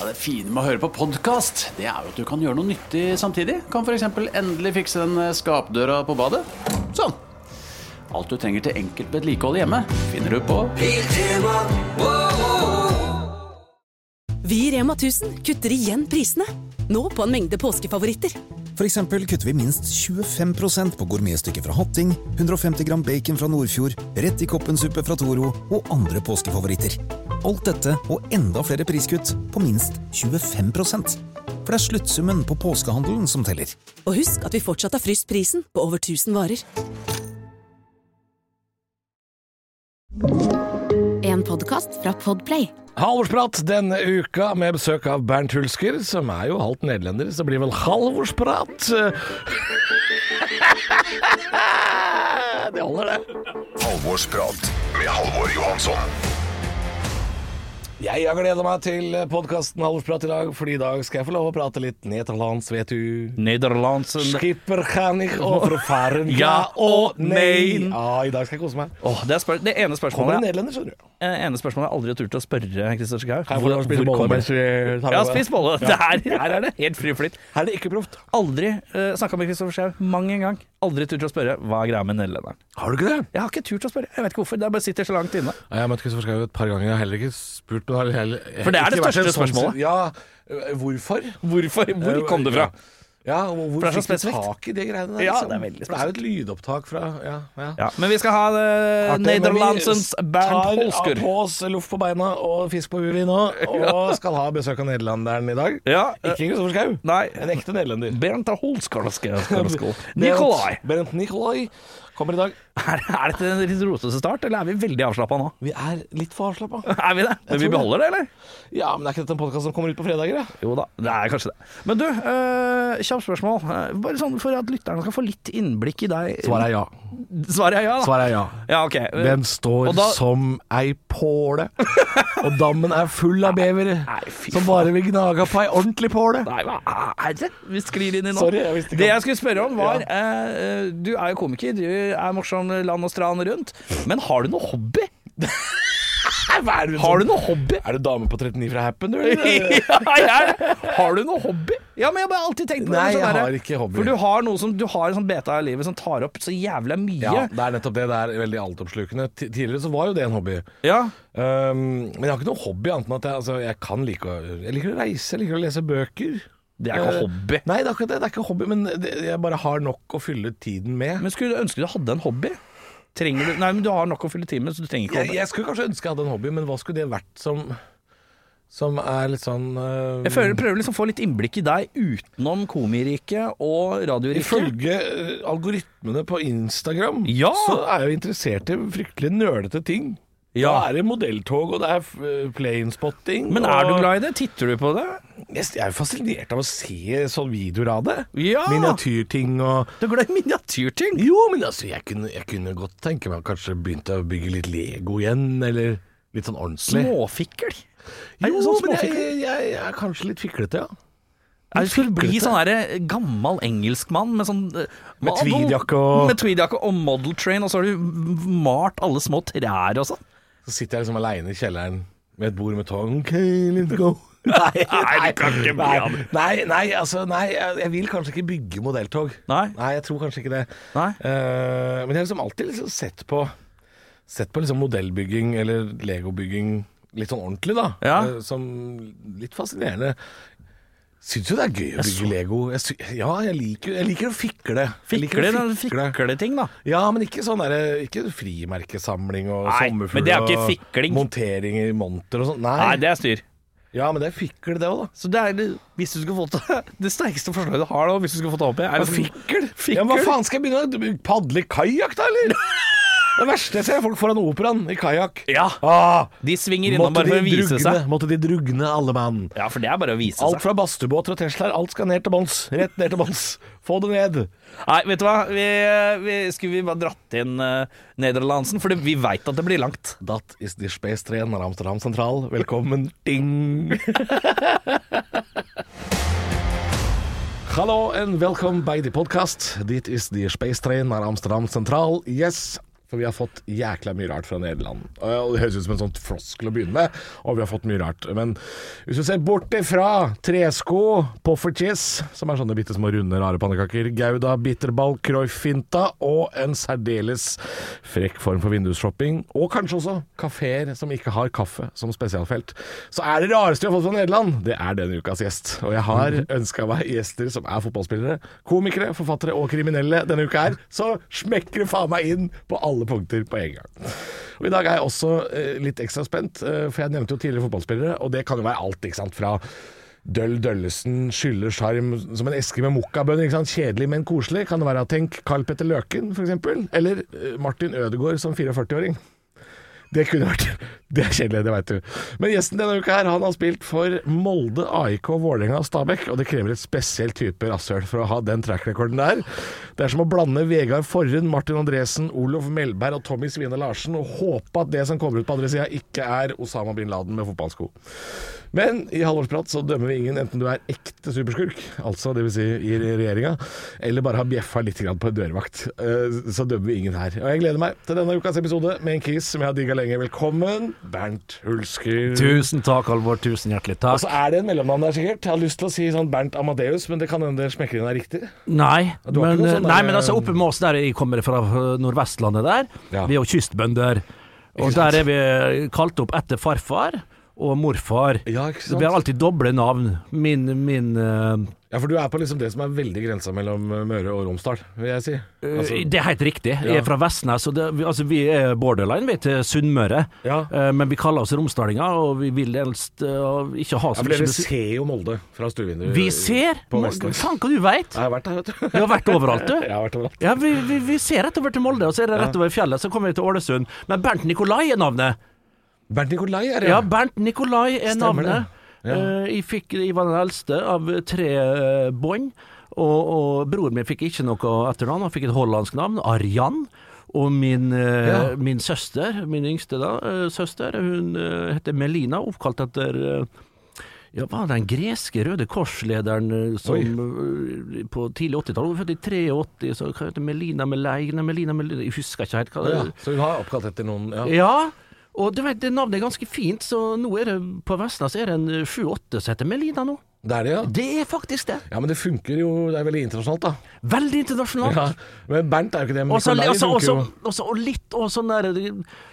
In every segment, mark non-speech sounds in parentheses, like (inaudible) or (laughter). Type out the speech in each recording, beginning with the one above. Ja, det fine med å høre på podkast, det er jo at du kan gjøre noe nyttig samtidig. Kan f.eks. endelig fikse den eh, skapdøra på badet. Sånn. Alt du trenger til enkelt vedlikehold hjemme, finner du på Vi i Rema 1000 kutter igjen prisene. Nå på en mengde påskefavoritter. For eksempel kutter vi minst 25 på gourmetstykket fra Hatting, 150 gram bacon fra Nordfjord, rett i koppensuppe fra Toro og andre påskefavoritter. Alt dette og enda flere priskutt på minst 25 For det er sluttsummen på påskehandelen som teller. Og husk at vi fortsatt har fryst prisen på over 1000 varer. En podkast fra Podplay. Halvorsprat denne uka med besøk av Bernt Hulsker, som er jo halvt nederlender, så det blir vel halvorsprat. eh, (laughs) Det holder, det. Halvorsprat med Halvor Johansson. Jeg har gleda meg til podkasten Halvorsprat i dag, for i dag skal jeg få lov å prate litt nederlandsk, vet du. Nederlandsen Skipper kan ich over faren, (laughs) Ja og nei. Ja, I dag skal jeg kose meg. Åh, det, er spør det ene Kommer det spørsmålet nederlender, skjønner du. eh, ene spørsmålet jeg aldri har turt å spørre Christer Schau. Kan jeg få lov å spise boller mens vi tar Ja, over? spis bolle. Der, her er det helt fri flyt. Her er det ikke proft. Aldri uh, snakka med Kristoffer Schau mang en gang. Aldri turt å spørre hva er greia med nederlenderen. Har du ikke det? Jeg har ikke turt å spørre. Jeg vet ikke hvorfor. Det bare sitter så langt inne. Jeg har møtt Kristoffer Schau et par ganger, jeg har heller ikke spurt men har heller, For det er det ikke vært største en sånn- spørsmålet. Ja, eh, hvorfor? Eh, Hvorfor? Hvor kom det fra? Ja, og hvor For det er så fikk du spesifikt. tak i de greiene der? liksom? Ja, det er veldig For det er jo et lydopptak fra Ja. ja. Ja, men vi skal ha eh, Artig, men vi Nederlandsens Bernt Holsker. Tar av på oss loff på beina og fisk på huet vi (laughs) nå, og skal ha besøk av nederlenderen i dag. Ja, eh, Ikke Kristoffer Schau, nei. en ekte nederlender. Bernt Holsker. eh, (laughs) Nikolai. Berent Nikolai kommer i dag. Er, er dette en litt rotete start, eller er vi veldig avslappa nå? Vi er litt for (laughs) avslappa. Er vi det? Men vi tror det. beholder det, eller? Ja, men er ikke dette en podkast som kommer ut på fredager? Ja? Jo da, det er kanskje det. Men du, øh, kjapt spørsmål. Eh, Bare sånn for at lytterne skal få litt innblikk i deg. Svaret er ja. Svaret er ja, da. Svaret er ja. Ja, ok. Eh, Den står Og da- som ei påle, og dammen er full av bevere Nei, fy som bare vil gnage på ei ordentlig påle. Nei, hva er det? Vi sklir inn i nå. Sorry, jeg visste ikke det om- jeg skulle spørre om var eh, eh, Du er jo komiker, du er morsom land og strand rundt, men har du noe (laughs) hobby? Har du noe hobby? (laughs) Er du dame på 39 fra Happen, du? ja, jeg er det. Har du noe hobby? (laughs) Ja, men jeg har bare alltid tenkt på det. Nei, sånn jeg der- har ikke hobby. For du har noe som Du har en sånn beta i livet som tar opp så jævla mye. Ja, det er nettopp det. Det er veldig altoppslukende. Ti- Tidligere så var jo det en hobby. Ja. Um, men jeg har ikke noe hobby annet enn at jeg, altså, jeg kan like å Jeg liker å reise, jeg liker å lese bøker. Det er ikke Eh, hobby. Nei, det er ikke, det, det er ikke hobby, men det, jeg bare har nok å fylle tiden med. Men skulle du ønske du hadde en hobby? Trenger du Nei, men du har nok å fylle timen, så du trenger ikke Jeg, hobby. Jeg, jeg skulle kanskje ønske jeg hadde en hobby, men hva skulle det vært som Som er litt sånn eh, føler, prøver liksom å få litt innblikk i deg utenom komiriket og radioriket. Ifølge eh, algoritmene på Instagram Ja! så er jeg jo interessert i fryktelig nølete ting. Ja. Da er det modelltog, og det er eh, planespotting. Men er du og- glad i det? Titter du på det? Jeg jeg er jo fascinert av å se sånne videoer av det. Ja! Miniatyrting og Du er glad i miniatyrting? Jo, men altså, jeg kunne, jeg kunne godt tenke meg å kanskje begynne å bygge litt Lego igjen, eller litt sånn ordentlig. Småfikkel. Er jo, det sånn men jeg, småfikkel? jeg, jeg er kanskje litt fiklete, ja. Nei, Du skulle bli sånn der gammel engelskmann med sånn eh, Med model- tweedjakke og- Med tweedjakke og model train, og så har du malt alle små trær og sånn. Så sitter jeg liksom aleine i kjelleren med et bord med tog. Ok, let's (laughs) go. Nei, Nei, det kan ikke bli av nei, nei, nei, altså, nei, jeg jeg vil kanskje ikke bygge modelltog. Nei. Nei, jeg tror kanskje ikke det. Nei. Eh, men jeg har liksom alltid liksom sett på Sett på liksom modellbygging eller legobygging litt sånn ordentlig, da. Ja. Eh, som litt fascinerende. Syns jo det er gøy å bygge Lego. Jeg sy ja, jeg liker, jeg liker å fikle. Jeg liker Fikler, å fikle. fikleting, da. Ja, men ikke sånn der, ikke frimerkesamling og Nei, sommerfugl men det er ikke fikling. og montering i monter og sånn. Nei. Nei, det er styr. Ja, men det er fikle, det òg, da. Så det er det- hvis du skulle fått (laughs) det Det sterkeste forslaget du har nå, hvis du skulle fått det opp i, er Men liksom- fikkel? Altså, Fikkel? Ja, men hva faen skal jeg begynne å padle i kajakk, da, (laughs) eller? Det verste jeg ser, er folk foran operaen i kajakk. Ja. Ah, De svinger innom måtte, bare for å de vise drugne, seg. måtte de drugne, alle mann. Ja, for det er bare å vise Alt seg. fra badstuebåter og Teslaer, alt skal ned til bånns. Rett ned til bånns. Få det ned. Nei, vet du hva. Vi, vi, skulle vi bare dratt inn eh, Nederlandsen? For det- vi veit at det blir langt. That is the space train av Amsterdam sentral. Velkommen. Ding. (laughs) Hallo and welcome by the podcast. Dit is the space train av Amsterdam sentral. Yes. For vi har fått jækla mye rart fra Nederland. Og Det høres ut som en sånn floskel å begynne med, og vi har fått mye rart. Men hvis du ser bort ifra tresko, poffertjes, som er sånne bitte små runde, rare pannekaker, gouda, bitterball, croifinta og en særdeles frekk form for vindusshopping, og kanskje også kafeer som ikke har kaffe som spesialfelt, så er det rareste vi har fått fra Nederland, det er denne ukas gjest. Og jeg har ønska meg gjester som er fotballspillere, komikere, forfattere og kriminelle denne uka her, så smekker det faen meg inn på alle punkter på en gang. Og I dag er jeg også eh, litt ekstra spent, eh, for jeg nevnte jo tidligere fotballspillere, og det kan jo være alt, ikke sant, fra Døll Døllesen skyller sjarm som en eske med mokkabønner. ikke sant? Kjedelig, men koselig. Kan det være tenk Carl Petter Løken, f.eks.? Eller eh, Martin Ødegaard som 44-åring. Det kunne vært (laughs) Det er kjedelig, det veit du. Men gjesten denne uka her, han har spilt for Molde, AIK, Vålerenga og Stabæk, og det krever et spesielt type rasshøl for å ha den track-rekorden der. Det er som å blande Vegard Forhund, Martin Andresen, Olof Melberg og Tommy Svine Larsen og håpe at det som kommer ut på andre sida, ikke er Osama bin Laden med fotballsko. Men i halvårsprat så dømmer vi ingen enten du er ekte superskurk, altså dvs. Si i regjeringa, eller bare har bjeffa litt grann på en dørvakt. Eh, Så dømmer vi ingen her. Og jeg gleder meg til denne ukas episode med en kis som jeg har digga lenge. Velkommen, Bernt Hulsker. Tusen takk, Halvor. Tusen hjertelig Og takk. så er det en mellomnavn der, sikkert. Jeg har lyst til å si sånn Bernt Amadeus, men det kan hende smekkeren er riktig. Nei, Du har ikke eh, men, noe sånn der- nei, men altså oppe med oss der jeg kommer fra, fra Nordvestlandet der, Ja. vi er jo kystbønder. Og der er vi eh, kalt opp etter farfar og morfar. Ja, ikke Så vi har sant? alltid doble navn. Min, min eh, Ja, for du er på liksom det som er veldig grensa mellom eh, Møre og Romsdal, vil jeg si. Altså, Det er helt riktig. Jeg er fra Vestnes, og det, vi- altså, vi er borderline, vi, til Sunnmøre. Ja. Eh, Men vi kaller oss romsdalinger, og vi vil helst eh, ikke ha ja, så for dere mye musikk. ser jo Molde fra stuevinduet. Vi ser! På Vestnes. Faen, hva du veit! Jeg har vært der, vet du. Vi har vært overalt, du. (laughs) Jeg har vært overalt. Ja, vi, vi, vi ser rett over til Molde, og så er det rett over fjellet, så kommer vi til Ålesund. Men Bernt Nikolai er navnet. Bernt Nikolai er det. Ja, Bernt Nikolai er Stemmer det. navnet. Eh, jeg, fikk, jeg var den eldste av tre eh, bånd, og, og broren min fikk ikke noe etternavn. Han fikk et hollandsk navn, Arjan. Og min, eh, Ja. min søster, min yngste da, eh, søster, hun eh, heter Melina, oppkalt etter eh, ja, var den greske Røde Kors-lederen eh, som eh, på tidlig 80-tall, hun var født i 83, så hva heter Melina Meleine, Melina Meleine, jeg husker ikke helt hva det Ja, så hun har oppkalt etter noen ja. ja, og du vet, det navnet er ganske fint, så nå er det på Vestnes er det en eh, 7-8 som heter Melina nå. Det er det, ja. Det er faktisk det. Ja, men det funker jo, det er veldig internasjonalt, da. Veldig internasjonalt. Ja. Men Bernt er jo ikke det. Men Og så- Nikolai altså, funker jo. også- også- og litt og sånn der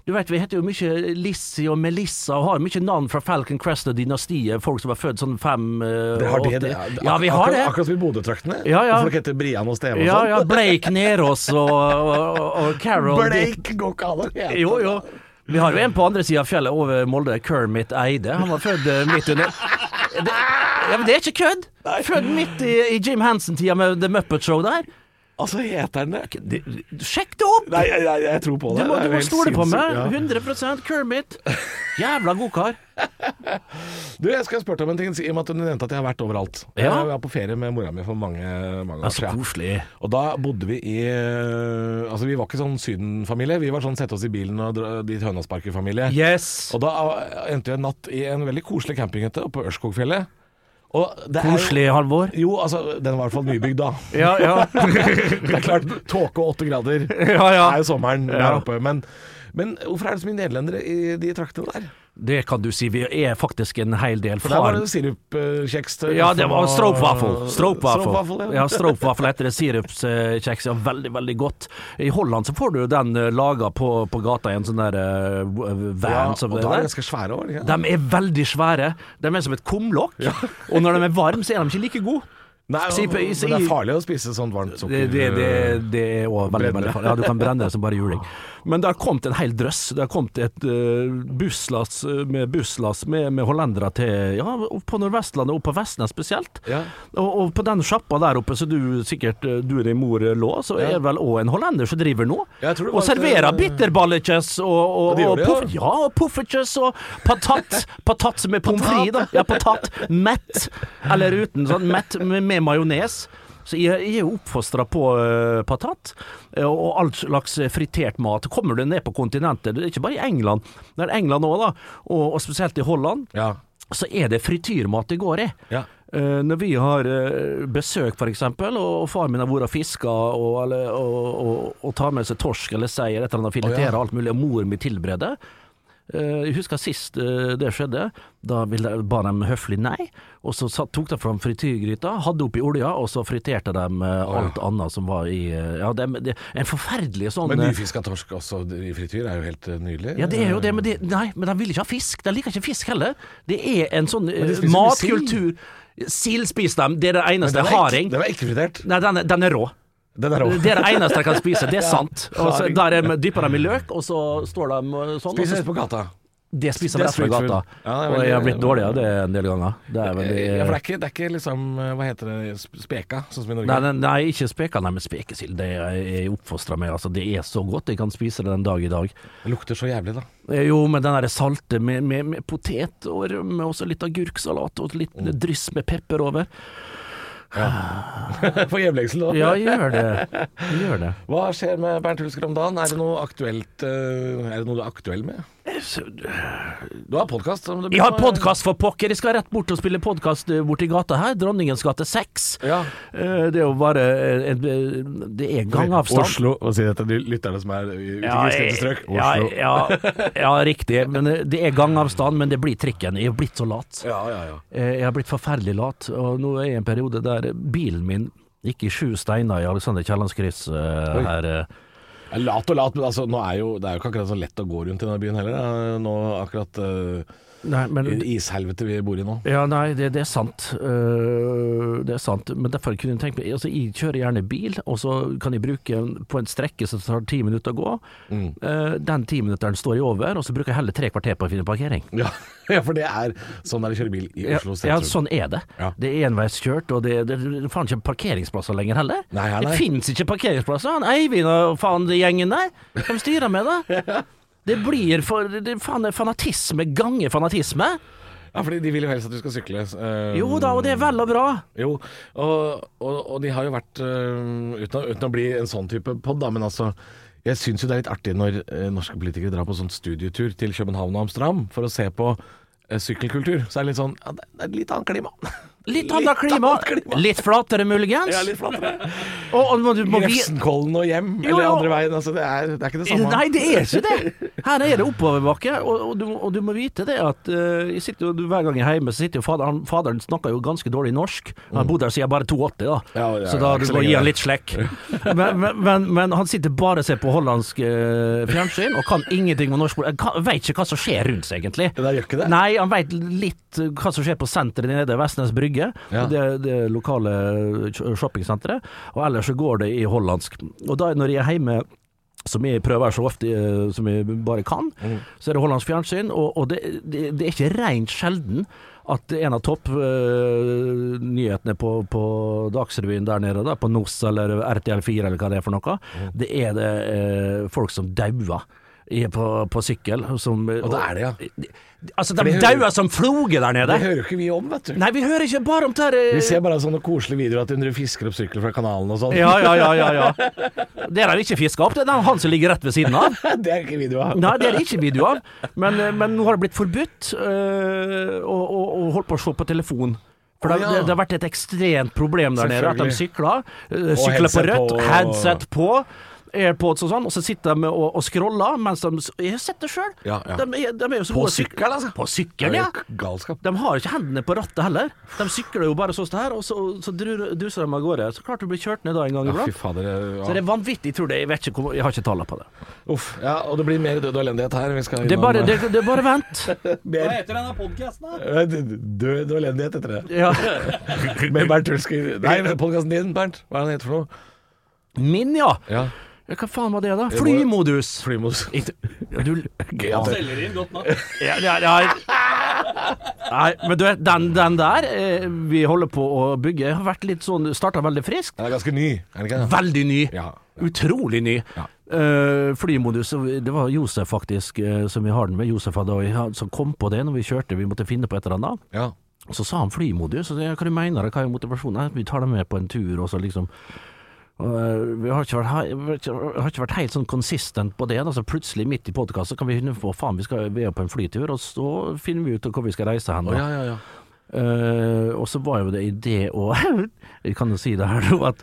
Du vet, vi heter jo mye Lizzie og Melissa og har mye navn fra Falcon Crest og dynastiet. Folk som er født sånn fem eh, Det har det, 80. det er- Ja, vi har akkurat, det. Akkurat som i Bodø-traktene. Ja, ja. hvor Folk heter Brian og Steve og Ja, sånn. ja. Blake Nerås og, og, og Carol Blake går ikke an å hete. Jo, jo. Vi har jo en på andre sida av fjellet over Molde, Kermit Eide. Han var født eh, midt under det, ja, men det er ikke kødd! Født midt i, i Jim Henson-tida med The Muppet Show der. Altså, heter han det? Det- Sjekk det opp! Nei, jeg, jeg, jeg tror på Du det. må, Det er du jo må helt stole på meg. sinnssykt, ja. 100 Kermit. Jævla godkar. Du, jeg skal spørre deg om en ting, i og med at du nevnte at jeg har vært overalt. Ja. Jeg var på ferie med mora mi for mange, mange år Så siden. koselig. Og da bodde vi i eh, Altså, vi var ikke sånn Syden-familie. Vi var sånn sette oss i bilen og dra dit Hønasparker-familie. Yes. Og da eh, endte vi en natt i en veldig koselig campinghytte oppe på Ørskogfjellet. Og det er jo- Koselig, Halvor. Jo, altså, den var i hvert fall nybygd (laughs) da. Ja, ja. Det er klart, tåke og åtte grader Ja, ja. er jo sommeren der Ja. oppe. Men, men hvorfor er det så mye nederlendere i de traktene der? Det kan du si. Vi er faktisk en hel del For der var far. det sirupkjeks til Ja, det var stroopwafel. Stroopwafel, Stroopwafel Ah, ja. ja, stroopwafel heter det. Sirupskjeks. Ja, veldig, veldig godt. I Holland så får du den eh, laga på, på gata i en sånn der eh, Ja, van som og det da er det der. ganske svære år. Ikke? De er veldig svære. De er som et kumlokk. Og når de er varme, så er de ikke like gode. Nei, Si- og, men si- det er farlig å spise sånt varmt Det, sukker. eh, det, det, det er også Brenne. veldig, Ah. veldig farlig. Ja, du kan brenne det som bare juling. Men det har kommet en hel drøss. Det har kommet et eh, busslass med, busslass med, med hollendere til Ja, opp på Nordvestlandet og på Vestnes spesielt. Ja. Og, og på den sjappa der oppe som du sikkert eh, du og din mor lå, så er det vel òg en hollender som driver nå. Ja, jeg tror det Og var et, serverer eh, bitterballekjeks og, Ja, og, de gjør og, det, ja. poff- ja, og poffertjes og patat. Patat med pommes frites, da. Ja, patat. Mett. Eller uten sånn mett med, med majones. Så jeg, jeg er jo oppfostra på eh, patat eh, og all slags fritert mat. Kommer du ned på kontinentet, det er ikke bare i England, det er England òg, da, og, og spesielt i Holland, Ja. så er det frityrmat det går i. Ja. Eh, når vi har eh, besøk, for eksempel, og, og far min har vært og fiska og, eller- og, og, og tar med seg torsk eller sei eller et eller annet, fileterer alt mulig, og moren min tilbereder Eh, Jeg husker sist eh, det skjedde. Da ville, ba de høflig nei, og så satt, tok de fram frityrgryta, hadde oppi olja, og så friterte de eh, alt annet som var i eh, Ja, det, det en forferdelig sånn Men eh, nyfiska torsk også i frityr er jo helt eh, nydelig. ja, det er jo det, Eh. men de, nei, men de vil ikke ha fisk. De liker ikke fisk heller. Det er en sånn eh, de spiser jo matkultur Sild spiser dem, det er det Men eneste. den er Harding. Ikke, den er ikke fritert. Nei, den er, den er rå. Den er rå. Det er det eneste de kan spise, (laughs) det er sant. Og så haring. der er- dypper de i løk, og så står de eh, sånn. (laughs) og Spises så- på gata. Det spiser Det er de rett fra street gata. food. Ja, det er og jeg har veldig- blitt dårlig av det en del ganger. Det er veldig, Ja, for det er, ikke, det er ikke liksom eh, Hva heter det? sp- Speka, sånn som i Norge? Nei, nei, nei, ikke speka, nei, men spekesild. Det er jeg oppfostra med. Altså, det er så godt. Jeg kan spise det den dag i dag. Det lukter så jævlig, da. (laughs) Eh, Jo, men den der salte med, med, med potet og rømme, og så litt agurksalat og litt Mm. dryss med pepper over. For hjemlengsel, da. Ja, gjør det. Gjør (laughs) det. Hva skjer med Bernt Hulsker om dagen? Er det noe aktuelt eh, Er det noe du er aktuell med? Du har podkast. Vi har podkast for pokker! Jeg skal rett bort og spille podkast borti gata her. Dronningens gate 6. Ja. Eh, Det er jo bare eh, en- eh, Det er gangavstand. Oslo. Og si dette til lytterne som er i- ute i grisgrendte strøk. ja, Oslo. ja, ja, riktig. Men eh, det er gangavstand, men det blir trikken. Jeg er blitt så lat. Ja, ja, ja. Eh, Jeg har blitt forferdelig lat, og nå er jeg i en periode der bilen min gikk i sju steiner i Alexander Kiellands kryss eh, her. eh. Ja, Lat og lat, men altså, nå er jo, det er jo ikke akkurat så lett å gå rundt i denne byen heller. eh, Nå akkurat uh, Nei, men ishelvete vi bor i nå. ja, nei, det, det er sant. Eh, det er sant. Men derfor kunne jeg tenkt meg altså, Jeg kjører gjerne bil, og så kan jeg bruke en- på en strekke som tar ti minutter å gå. Mm. Eh, den timinutteren står jeg over, og så bruker jeg heller tre kvarter på å finne parkering. Ja, (laughs) ja, for det er sånn er det å kjøre bil i Ja, Oslo ja, sentrum. sånn er det. Ja. Det er enveiskjørt, og det, det, det er faen ikke parkeringsplasser lenger heller. Nei, ja, nei. Det fins ikke parkeringsplasser. Han Eivind og faen de gjengen der, de styrer (laughs) med det. Det blir for det, det, faen, det er fanatisme ganger fanatisme. Ja, fordi de vil jo helst at du skal sykle. eh, Jo da, og det er vel og bra. Jo, og, og, og de har jo vært eh, uten, å, uten å bli en sånn type pod, da, men altså Jeg syns jo det er litt artig når eh, norske politikere drar på sånn studietur til København og Amsterdam for å se på eh, sykkelkultur. Så er det litt sånn Ja, det det er et litt annet klima. Litt annet klima. Litt flatere, muligens. Ja, litt flatere. Og, og må du må vi... Grefsenkollen og hjem, Jo, eller jo. andre veien. Altså, det, er, det er ikke det samme. Nei, det er ikke det! Her er det oppoverbakke, og, og, du, og du må vite det at eh, jeg sitter jo, du, hver gang jeg er hjemme, så sitter jo faderen Faderen snakker jo ganske dårlig norsk. Han har bodd her siden jeg bare 82, da, Mm. Ja, ja, så ja, ikke da du så må lenge gi han det. litt slekk. (laughs) Men, men, men, men han sitter bare og ser på hollandsk eh, fjernsyn, og kan ingenting om norsk politikk. Kan- Vet ikke hva som skjer rundt seg, egentlig. Det der gjør ikke det. Nei, han veit litt eh, hva som skjer på senteret nede, Vestnes Brygge. Ja. Det, det lokale eh, shoppingsenteret. Og ellers så går det i hollandsk. Og da når jeg er hjemme som jeg prøver så ofte eh, som jeg bare kan, Mm. så er det hollandsk fjernsyn. Og, og det, det, det er ikke rent sjelden at en av toppnyhetene på, på Dagsrevyen der nede, da, på NOS eller RTL4 eller hva det er for noe, Mm. det er det eh, folk som dauer. i- På, på sykkel. Som, Og det er det, ja. Altså, For de det hører- dauer som floger der nede. Det hører jo ikke vi om, vet du. Nei, vi hører ikke bare om det her eh. Vi ser bare sånne koselige videoer at de fisker opp sykler fra kanalen og sånn. (laughs) Ja, ja, ja, ja, ja. Det har de ikke fiska opp. Det er han som ligger rett ved siden av. det er ikke videoer. Nei, det er det ikke video av. Men, eh, men nå har det blitt forbudt eh, å, å, å holde på å se på telefon. For det, Å, ja. det, det har vært et ekstremt problem der nede, at de sykler. eh, sykler på headset rødt, på. headset på. Airpods og sånn, og så sitter de og, og scroller mens de Jeg har sett det sjøl! Ja, ja. de, er- de er jo så På gode syk- sykkel, altså. På Det sykkelen, er ja! jo galskap. De har ikke hendene på rattet heller. De sykler jo bare sånn her, og så, så dru- duser de av gårde. Så klart du blir kjørt ned da en gang Ja, fy iblant. fader. Så det er vanvittig, jeg tror det. Jeg vet ikke hvor Jeg har ikke tallene på det. Uff. Ja, og det blir mer død og elendighet her. Vi skal Det er innom- bare, det, det er bare vent. (laughs) mer heter denne podkasten, da? Eh, (laughs) død og elendighet etter det. Ja. Med Bernt Hulsker. (laughs) Nei, podkasten din, Bernt. Hva er den heter for noe? Min, ja. Ja, Ja, Hva faen var det, da? må- Flymodus. Flymos. Ikke- Ja, du, (laughs) Gøy at det- Selger inn godt natt. ja, ja, ja. Nei, men du vet, den, den der eh, vi holder på å bygge, har vært litt sånn Starta veldig friskt. Den er ganske ny, er den ikke det? Veldig ny. Ja. Utrolig ny. Ja. Eh, flymodus, det var Josef faktisk eh, som vi har den med, Josef Adoy, han som kom på det når vi kjørte, vi måtte finne på et eller annet. ja. Og Så sa han flymodus, og så, ja, hva du mener, hva er motivasjonen? Nei, vi tar dem med på en tur, og så liksom øh, Vi har ikke vært, hei- vi har ikke- vi har ikke vært helt sånn konsistent på det. Da. Så plutselig, midt i podkasten, kan vi finne på faen, vi skal vi er på en flytur, og så finner vi ut hvor vi skal reise hen. Da. Å, ja, ja, ja. Eh, og så var jo det i det å (laughs) Vi kan jo si det her nå, at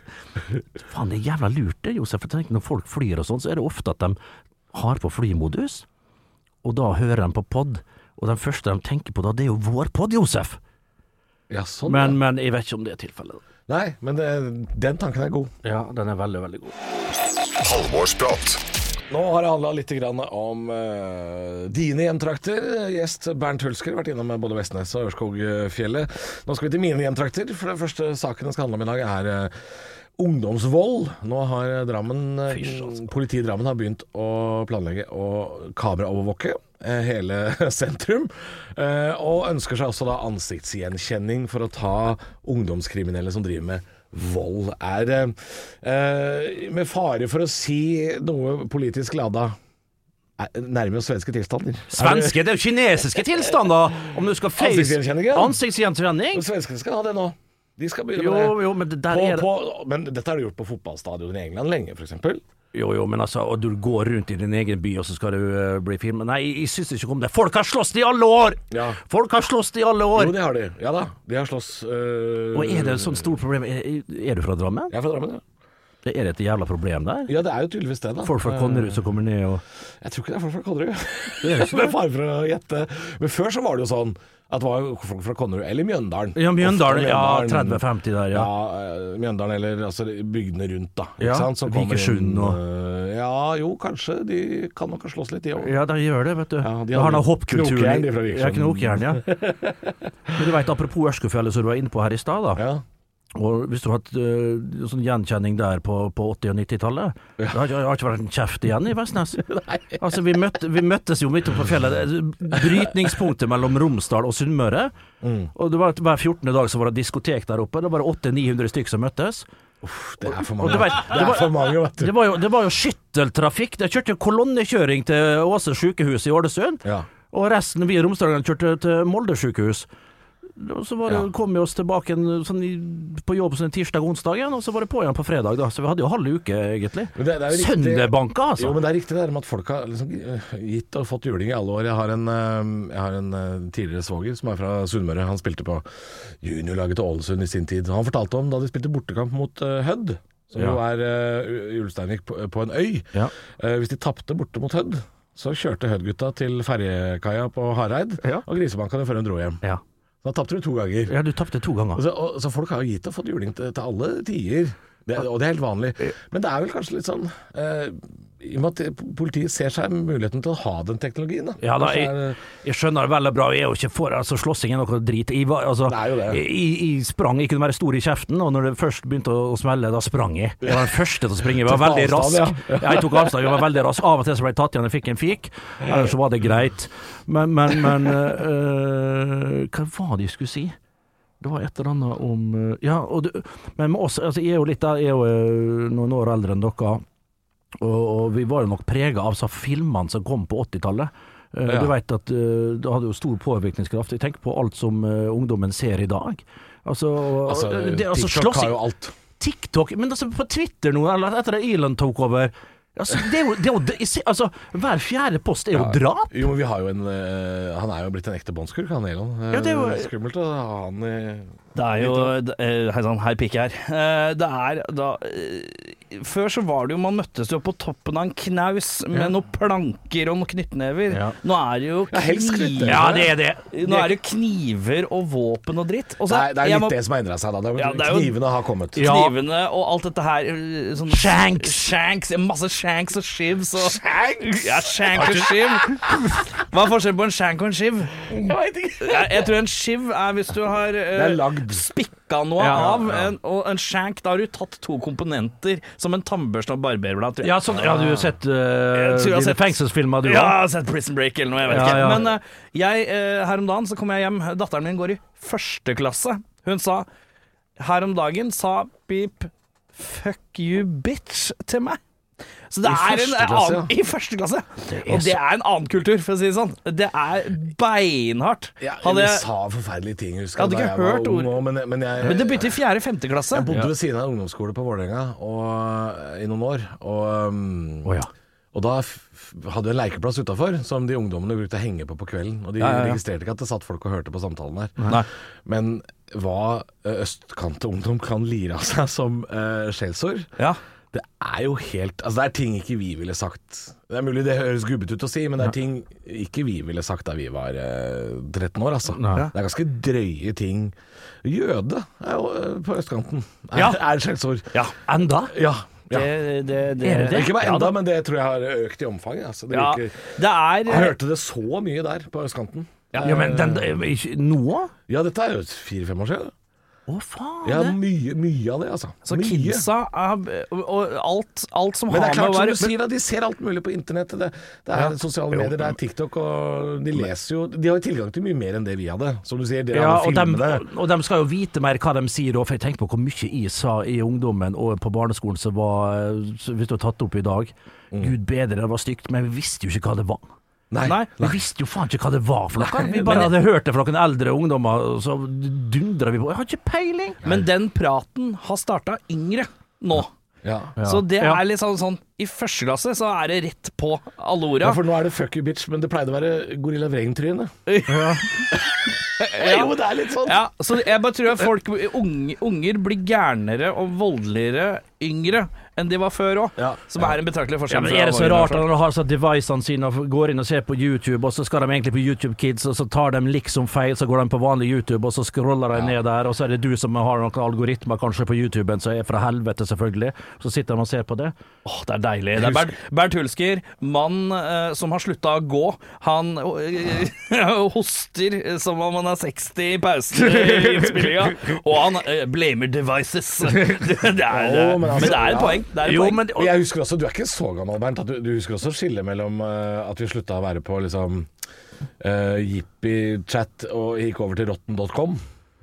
faen, det er jævla lurt det, Josef. For tenk, når folk flyr og sånn, så er det ofte at de har på flymodus, og da hører de på pod. Og den første de tenker på da, det er jo vår pod, Josef. Ja, sånn Men, ja. men jeg vet ikke om det er tilfellet. Nei, men det, den tanken er god. Ja, den er veldig, veldig god. Halvorsprat. Nå har det handla litt grann om eh, dine hjemtrakter. Gjest Bernt Hulsker vært innom både Vestnes og Ørskogfjellet. Nå skal vi til mine hjemtrakter. For den første saken det skal handle om i dag, er eh, ungdomsvold. Nå har Drammen, eh, altså. politiet i Drammen har begynt å planlegge å kameraovervåke eh, hele (laughs) sentrum. eh, og ønsker seg også da ansiktsgjenkjenning for å ta ungdomskriminelle som driver med vold er eh, eh, Med fare for å si noe politisk lada er- Nærmer oss svenske tilstander. Svenske, det er jo kinesiske tilstander! Om du skal face Ansiktsgjenkjenning, ja. Er Ansiktsgjenkjenning? det- Svenskene skal ha det nå. De skal begynne Jo, med det. jo, men det der På, er det på, men dette har de gjort på fotballstadion i England lenge, f.eks. Jo, jo, men altså, og du går rundt i din egen by, og så skal du eh, bli filmet Nei, jeg syns ikke om det. Folk har slåss i alle år! Ja. Folk har slåss i alle år! Jo, det har de. Ja da. De har slåss eh, Og er det et sånt stort problem? Er, er du fra Drammen? Jeg er fra Drammen, ja. Det Er det et jævla problem der? Ja, det er jo tydeligvis det, da. Folk fra Konnerud som kommer ned og Jeg tror ikke det er folk fra (laughs) Konnerud. (laughs) Med fare for å gjette. Men før så var det jo sånn at det var jo folk fra Konnerud eller Mjøndalen. Ja, Mjøndalen. Ofte Ja, Mjøndalen. 30-50 der, ja. eh, Mjøndalen eller altså bygdene rundt, da. Ikke Ja, sant? Som kommer Vikersund inn, og- eh, Ja, jo, kanskje. De kan nok ha slåss litt, de òg. Ja, de gjør det, vet du. Ja, de de har hadde den hoppkulturen. knokjern, de fra Vikersund. Ja, knokjern, ja. Men du veit, apropos Ørskofjellet som du var inne på her i stad, da. Ja. Og hvis du har hatt eh, sånn gjenkjenning der på, på 80- og 90-tallet Det har, ikke- det har ikke vært en kjeft igjen i (laughs) Vestnes. altså, vi, møtte, vi møttes jo midt oppe på fjellet. Det er Brytningspunktet mellom Romsdal og Sunnmøre. Mm. Og det var at Hver 14. dag så var det diskotek der oppe. Det var 800-900 stykk som møttes. Det er for Og mange. du vet, det er for mange, vet Det du. var jo, det var jo skytteltrafikk. De kjørte jo kolonnekjøring til Åse sjukehus i Ålesund. Ja. Og resten vi i Romsdalen kjørte til Molde sjukehus. Og Så var det, Ja. kom vi oss tilbake en, sånn, i- på jobb sånn tirsdag-onsdag igjen, og så var det på igjen på fredag. da Så vi hadde jo halv uke, egentlig. Men det- det er jo riktig- Sønderbanka, altså! Jo, men det er riktig det der med at folk har liksom eh, gitt og fått juling i alle år. Jeg har en, eh, jeg har en eh, tidligere svoger som er fra Sunnmøre. Han spilte på juniorlaget til Ålesund i sin tid. Han fortalte om da de spilte bortekamp mot eh, Hødd. Som jo er eh, U- Ulsteinvik på, på en øy. Ja. Eh, hvis de tapte borte mot Hødd, så kjørte Hødd-gutta til ferjekaia på Hareid Ja. og grisebanka dem før de dro hjem. Ja. Da tapte de to ganger. ja, du tapte to ganger. Og Så, og, så folk har jo gitt og fått juling til, til alle tider, det, og det er helt vanlig. Men det er vel kanskje litt sånn eh, I og med at politiet ser seg muligheten til å ha den teknologien, da. Ja da, Kanskje jeg, er, eh, jeg skjønner det veldig bra, jeg er jo ikke for altså, slåssing er noe drit. Jeg, var, altså, Det er jo det. Jeg, jeg sprang, jeg kunne være stor i kjeften, og når det først begynte å, å smelle, da sprang jeg. Jeg var den første til å springe, jeg var Tok veldig rask. avstand, ja. Ja, Jeg tok avstand, jeg var veldig rask. Av og til så ble jeg tatt igjen, jeg fikk en fik, ellers så var det greit. Men, men, men øh, Hva var det jeg skulle si? Det var et eller annet om øh, Ja, og du, men med oss altså, Jeg er jo litt der, jeg er jo øh, noen år eldre enn dere. Og, og vi var jo nok prega av så filmene som kom på 80-tallet. Eh, Ja. Du vet at eh, det hadde jo stor påvirkningskraft. Jeg tenker på alt som eh, ungdommen ser i dag. Altså, altså, eh, det, altså TikTok slåssing- har jo alt. TikTok Men altså, på Twitter nå, eller etter at Elon tok over altså, det er jo, det er jo, jeg ser- altså, Hver fjerde post er jo drap! Jo, men vi har jo en eh, Han er jo blitt en ekte båndskurk, han Elon. Eh, Ja, det er jo- er skummelt å ha han i Det er jo det- eh, Hei sann, hei pikk her. Eh, Det er da eh, Før så var det jo man møttes jo på toppen av en knaus med noen planker og noen knyttnever. Ja. Nå er det jo Ja, helst knyttnever. Ja, det er det! Nå er det jo kniver og våpen og dritt. Og Det så- er, det er jeg litt må- det som har endra seg, da. Det er, Ja, det er jo- knivene har kommet. Ja. Knivene og alt dette her. øh, Sånn Shanks. shanks ja, masse shanks og shivs. Og, shanks? Ja, shank og shiv. Hva er forskjellen på en shank og en shiv? Jeg Jeg tror en shiv er hvis du har Det er øh, lagd. spikka noe Ja, av. En, og en shank, da har du tatt to komponenter, som en tannbørste og barberblad, tror jeg. Ja, sånn, ja, du har sett Jeg tror uh, jeg har dine sett- fengselsfilmer, du Ja, òg? jeg har sett Prison Break eller noe, jeg vet Ja, ikke. ja. Men eh, jeg, eh, her om dagen så kom jeg hjem, datteren min går i første klasse. Hun sa her om dagen sa beep fuck you bitch til meg. Så det I er en første klasse, annen, ja. I første klasse! er og det er en annen kultur, for å si det sånn. Det er beinhardt. Ja, Hadde vi jeg, sa forferdelige ting, husker Jeg hadde da ikke var hørt ung ord. og- Men, men jeg, men det begynte i fjerde-femte klasse. Jeg bodde ved siden av en ungdomsskole på Vålerenga og- i noen år. Og, um, Å ja. Og da f f- hadde vi en lekeplass utafor som de ungdommene brukte å henge på på kvelden. Og de Ja, ja, ja. registrerte ikke at det satt folk og hørte på samtalen der. Nei. Men hva eh, østkantungdom kan lire av seg som eh, skjellsord, Ja. det er jo helt Altså, det er ting ikke vi ville sagt. Det er mulig det høres gubbete ut å si, men det er ting ikke vi ville sagt da vi var eh, 13 år, altså. Nei. Det er ganske drøye ting. Jøde er jo eh, på østkanten. Er, Ja. er skjellsord. Ja. Enda? Ja. ja. Det, det, det, Er det det? Ikke bare Ja enda, da. men det tror jeg har økt i omfang. Altså. Det Ja, bruker- det er Jeg hørte det så mye der på østkanten. Ja, men den, Eh. ikke- nå? Ja, dette er jo fire-fem år siden. Å, faen. Ja, mye, mye av det, altså. Så mye. kidsa er, og, og alt, alt som Men det har er med å klart, som være du sier, da, de ser alt mulig på internettet. Det, det er sosiale medier, det er TikTok, og de leser jo De har jo tilgang til mye mer enn det vi hadde. Som du sier, dere Ja, hadde og, dem, filmene. og dem skal jo vite mer hva de sier, og for jeg tenker på hvor mye jeg sa i ungdommen og på barneskolen som var som hvis du har tatt opp i dag. Gud bedre, det var stygt, men vi visste jo ikke hva det var. Mm. Nei. Nei. Vi visste jo faen ikke hva det var for noe. Vi bare hadde hørt det fra noen eldre ungdommer, og så dundra vi på. Jeg har ikke peiling! Men den praten har starta yngre nå. Ja. Så det Ja. er litt sånn, sånn I første klasse så er det rett på alle orda. Ja, for nå er det fuck you bitch, men det pleide å være gorilla vreng-tryne. (laughs) Jo, det er litt sånn. Ja, så jeg bare tror at folk, unge, unger blir gærnere og voldeligere yngre enn de var før òg, Ja. som er en betraktelig Ja, forskjell. men fra Er det så våre rart generasjoner. at de har sånn devicene sine og går inn og ser på YouTube, og så skal de egentlig på YouTube Kids, og så tar de liksom feil, så går de på vanlig YouTube, og så scroller de ned der, og så er det du som har noen algoritmer kanskje på YouTuben som er fra helvete, selvfølgelig, så sitter de og ser på det. Åh, det er deilig. Det er Bernt, Bernt Hulsker, mann eh, som har slutta å gå. Han (laughs) eh, hoster som om han er 60 i pausen i innspillinga, og han eh, blamer devices. (laughs) Det, det er, Jo, men altså, men, det ja. er et poeng. Det er et Jo, poeng. men Og jeg husker også, Du er ikke så gammel, Bernt. At du, du husker også skillet mellom eh, at vi slutta å være på liksom uh, jippi-chat og gikk over til rotten.com.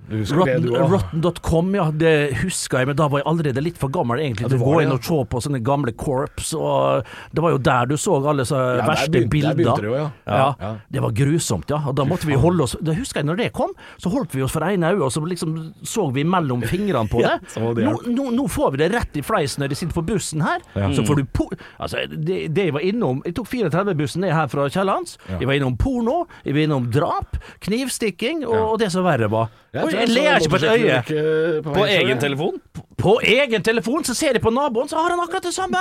Du husker det, Rotten- du òg? Rotten.com, ja, det husker jeg, men da var jeg allerede litt for gammel egentlig du til å var gå det, inn ja. og se på sånne gamle korps, og det var jo der du så alle så der verste begynte- der bilder. begynte det jo, ja. Ja, Ja. Det var grusomt, ja. Og da måtte vi holde oss Det husker jeg når det kom, så holdt vi oss for ene øyet, og så liksom så vi mellom fingrene (laughs) på det. så var det nå, hjelp. nå, nå får vi det rett i fleisen når de sitter på bussen her. Så får du Mm. po Altså, det, det jeg var innom Jeg tok 34-bussen ned her fra Kiellands. Jeg var innom porno, jeg var innom drap, knivstikking og, og det som verre var. Og jeg ler ikke på et øye. På egen telefon? På egen telefon så ser de på naboen, så har han akkurat det (laughs) samme.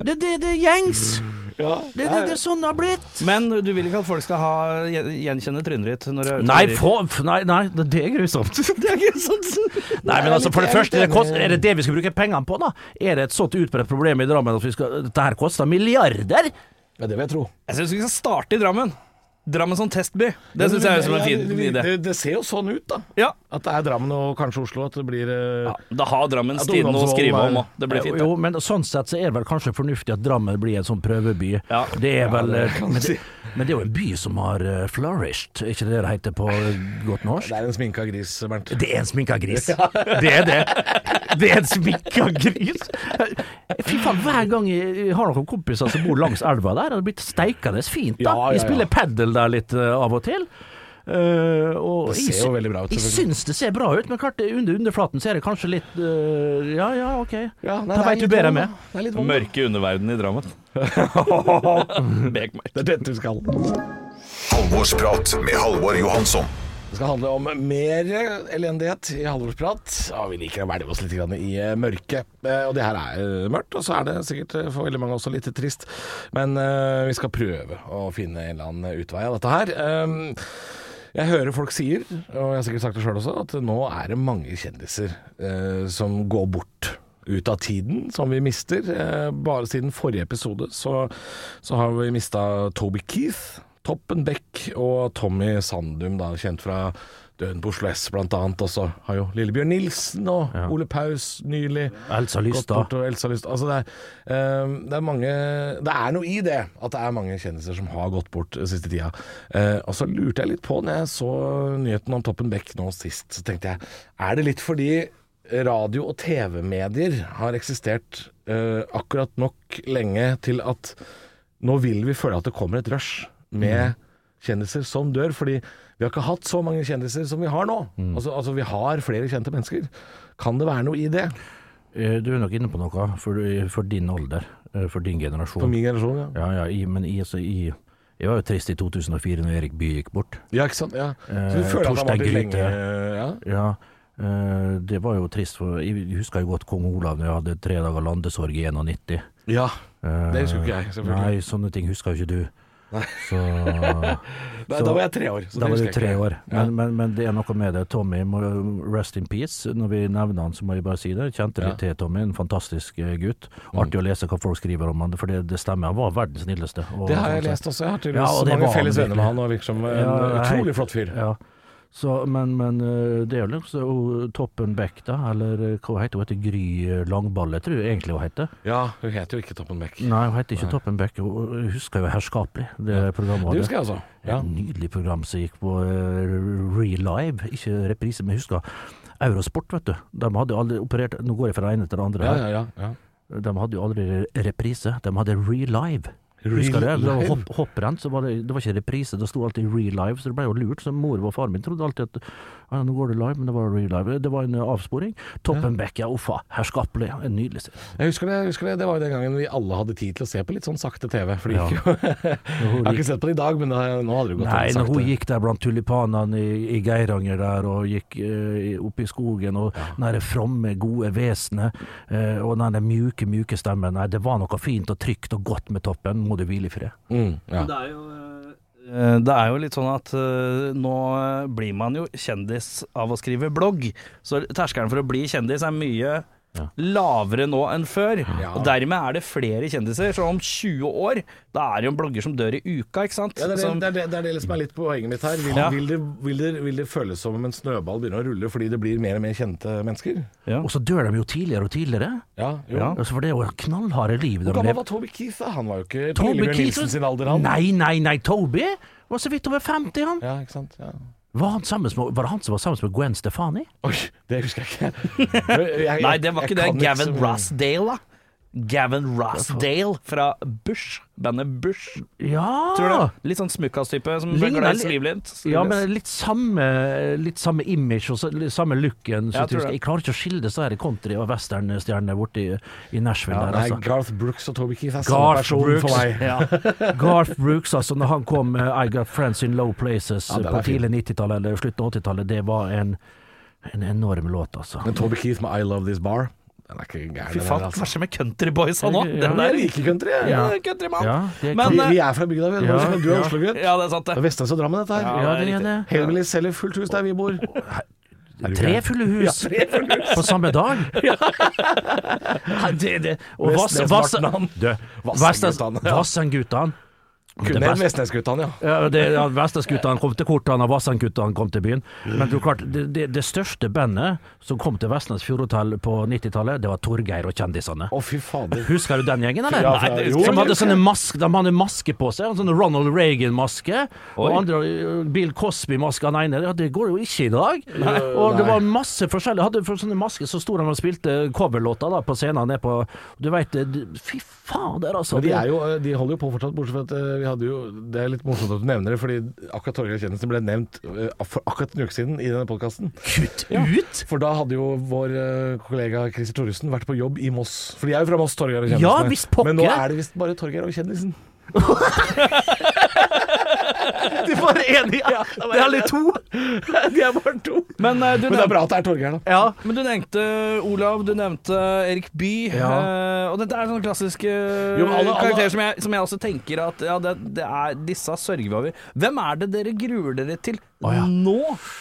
Det, det, det er gjengs. Det, det, det er sånn det har blitt. Men du vil ikke at folk skal ha, gjen- gjenkjenne trynet ditt? Når du er ute og Nei, driver? få- f- nei, nei, det det er grusomt. (laughs) det er grusomt. Nei, men altså, for det første, det kost, er det det vi skal bruke pengene på, da? Er det et sånt utbredt problem i Drammen at vi skal, dette her koster milliarder? Ja, det vil jeg tro. Jeg syns vi skal starte i Drammen. Drammen som testby. Det syns jeg høres ut som en Ja, fin det- idé. Det, det ser jo sånn ut, da. Ja. At det er Drammen og kanskje Oslo at det blir eh, Da har Drammen At Stine noe å ungdomsvolden skrive er- om òg. Det blir fint. det. Jo, men sånn sett så er det vel kanskje fornuftig at Drammen blir en sånn prøveby. Ja. Det er vel eh, men, det, men det er jo en by som har eh, flourished, er ikke det det heter på godt norsk? Det er en sminka gris, Bernt. Det er en sminka gris. (laughs) Det er det. Det er en sminka gris. Fy faen, hver gang jeg jeg har noen kompiser som bor langs elva der, det har blitt steikende fint, da. Ja, ja, Jeg ja. spiller padel der litt eh, av og til. Eh, og Det jeg ser jo sy- veldig bra ut, Jeg selvfølgelig. syns det ser bra ut, men klart det- under underflaten ser det kanskje litt eh, Ja ja, OK. Ja, nei, da det er veit du litt bedre vold, med. da. Det er litt vold, da. Mørke underverden i (laughs) Drammen. Bekmark. Det er dette vi skal. Halvorsprat med Halvor Johansson. Det skal handle om mer elendighet i halvårsprat. Ja, vi liker å velge oss litt grann i eh, mørket. Eh, Og det her er eh, mørkt, og så er det sikkert eh, for veldig mange også litt trist. Men eh, vi skal prøve å finne en eller annen utvei av dette her. Um, Jeg hører folk sier, og jeg har sikkert sagt det sjøl også, at nå er det mange kjendiser eh, som går bort ut av tiden, som vi mister. Eh, bare siden forrige episode så, så har vi mista Toby Keith, Toppen Beck og Tommy Sandum, da, kjent fra Døden på Oslo S blant annet. Og så har jo Lillebjørn Nilsen og Ole Paus nylig Elsa gått Lystad. bort. Og Elsa Lyst. Altså det, er, eh, det er mange Det er noe i det at det er mange kjendiser som har gått bort eh, siste tida. Eh, og så lurte jeg litt på, når jeg så nyheten om Toppen Beck nå sist, så tenkte jeg Er det litt fordi radio- og TV-medier har eksistert eh, akkurat nok lenge til at nå vil vi føle at det kommer et rush med kjendiser som dør, fordi vi har ikke hatt så mange kjendiser som vi har nå. Altså, altså vi har flere kjente mennesker. Kan det være noe i det? Eh, Du er nok inne på noe for, for din alder, eh, for din For generasjon. min generasjon, ja. Ja, ja, i, men i, altså, i, jeg var jo trist i 2004 når Erik Bye gikk bort. Ja, ikke sant? Ja. Så du Eh, føler at han har vært Torstein lenge Grythe. ja. Ja, eh, det var jo trist, for jeg husker jo godt kong Olav når jeg hadde tre dager landesorg i 91. ja. Eh, Det husker jo ikke jeg, selvfølgelig. Nei, sånne ting husker jo ikke du. Så, (laughs) Da, så- da var jeg tre år. så det da var husker du jeg tre ikke. år. Ja. Men, men, men det er noe med det. Tommy, må rest in peace. Når vi nevner han, så må jeg bare si det. Jeg Kjente litt til Tommy, en fantastisk eh, gutt. Mm. Artig å lese hva folk skriver om han, for det, det stemmer. Han var verdens snilleste. og- sånn Det har jeg lest også. Jeg har Ja, tydeligvis og det mange var han felles venner med virkelig. han. Og liksom, en Ja, nei. utrolig flott fyr. Ja. Så, men, men eh, det er jo liksom hun Toppen Beck, da, eller eh, hva heter hun? heter Gry eh, Langballe, tror jeg egentlig hun heter. Ja, hun heter jo ikke Toppen Beck. Nei, hun heter ikke Toppen Beck, hun hun husker jo herskapelig det programmet. hun Det hadde. husker jeg altså. Ja. Et nydelig program som gikk på eh, Relive, ikke reprise, men jeg husker Eurosport, vet du. De hadde aldri operert Nå går jeg fra det ene til det andre. Ja, her. ja, ja, ja. De hadde jo aldri reprise, de hadde Relive. Husker du det? det var Relive? hopp, hopprenn, så var det, det var ikke reprise, det sto alltid Relive, så det ble jo lurt. Så mor og faren min trodde alltid at ja, nå går det live, men det var Relive. Det var en eh, avsporing. Toppen Beck, ja, uffa. Herskapelig. En nydelig serie. Jeg husker det, jeg husker det. Det var jo den gangen vi alle hadde tid til å se på litt sånn sakte TV. For det gikk jo (laughs) Jeg har ikke sett på det i dag, men da, nå hadde det gått Nei, veldig når hun sakte. gikk der blant tulipanene i, i Geiranger der, og gikk eh, opp i skogen, og den der fromme, gode vesenet, eh, og den der mjuke, mjuke stemmen Nei, det var noe fint og trygt og godt med toppen. Må du hvile i fred. Mm, ja. Det er jo eh, det er jo litt sånn at eh, nå eh, blir man jo kjendis av å skrive blogg, så terskelen for å bli kjendis er mye lavere nå enn før. Ja. Og dermed er det flere kjendiser. Så om 20 år, da er det jo en blogger som dør i uka, ikke sant? Ja, det, er det, som, det, er det, det er det som er litt poenget mitt her. Vil, Ja. vil, det, vil, det, vil det føles som om en snøball begynner å rulle fordi det blir mer og mer kjente mennesker? ja. Og så dør de jo tidligere og tidligere. Ja, jo. Ja. Altså, for det er jo knallharde liv de Hvor gammel lever. var Toby Keith? da? Han var jo ikke Toby Lillebjørn Keith- Nilsen sin alder, han. Nei, nei, nei, Toby var så vidt over 50, han. Ja, ikke sant? Ja. Var, han sammen med, var det han som var sammen med Gwen Stefani? Oi, det husker (laughs) jeg ikke. Jeg- jeg- Nei, det var jeg ikke det. kan Gavin så mye. Rossdale, da. Gavin Rossdale fra Bush. Bandet Bush. Ja! Tror du? Litt sånn smukkas-type som ble Ligner glad i Ah! litt- slivlint. Ja, men litt samme, litt samme image og så- litt samme looken. Ja, Så jeg tror jeg, det. jeg klarer ikke å skille disse her country- og westernstjernene borti i Nashville Ja, der, nei, altså. Garth Brooks og Toby Keith altså. er samme Garth person Brooks, for meg. (laughs) ja. Garth Brooks, altså, når han kom med I Got Friends In Low Places eh, Ja, den er på fin. tidlig 90-tallet eller slutten av 80-tallet, det var en, en enorm låt, altså. Men Toby Keith med I Love This Bar, den er ikke gæren. Fy den faen, der, hva altså. skjer med countryboys han òg? Ja. Den Jeg der liker country. jeg. Ja. Ja, countryman. Ja, det er Men, Vi, eh, vi er fra bygda, vi. Ja, Du er ja. Oslo-gutt. ja, det er sant, Det er det. Vestlands og Drammen, dette her. Ja, det er det. Hellbillies selger fullt hus der vi bor. Tre fulle hus på samme (laughs) dag! Ja, det, det. Og Vass- Vass- Vestnes-Vartnan. Du, Vassendgutane, ja. Vassendgutane. Det Kunne en beste- Vestnesguttan, ja. Ja, det, ja, Vestlandsguttene kom til Kortan, og Vassendguttene kom til byen. Men det, er jo klart, det, det, det største bandet som kom til Vestlands Fjordhotell på 90-tallet, det var Torgeir og kjendisene. Å, fy fader. Husker du den gjengen, eller? Ja, fra- jo, Som hadde jo. sånne mask, de hadde maske på seg, en sånn Ronald Reagan-maske. Og Oi. andre ø, Bill Cosby-maske, han ene. Ja, det går jo ikke i dag. Og det nei. var masse forskjellig. Hadde for sånne masker så sto de og spilte eh, coverlåter da, på scenen nede på Du veit Fy fader, altså. Men de, er jo, eh, de holder jo på fortsatt, bortsett fra at eh, vi hadde jo Det er litt morsomt at du nevner det, fordi akkurat Torgeir Kjennelsen ble nevnt eh, for akkurat en uke siden i denne podkasten. Kutt (laughs) ut! For da hadde jo vår eh, kollega Christer Thoresen vært på jobb i Moss. For de er jo fra Moss, Torgeir og Ja, Kjendisene. visst pokker. Men nå er det visst bare Torgeir og Kjendisen. Du var enig, ja. Det er litt to. (laughs) De er bare to. Men, eh, du Men det er nevnte, bra at det er Torgeir, da. Ja. men du nevnte eh, Olav, du nevnte eh, Erik Bye. Ja. eh, og dette er sånne klassiske eh, Jo, men alle- alle- karakterer som jeg, som jeg også tenker at ja, det, det er, disse sørger vi over. Hvem er det dere gruer dere til nå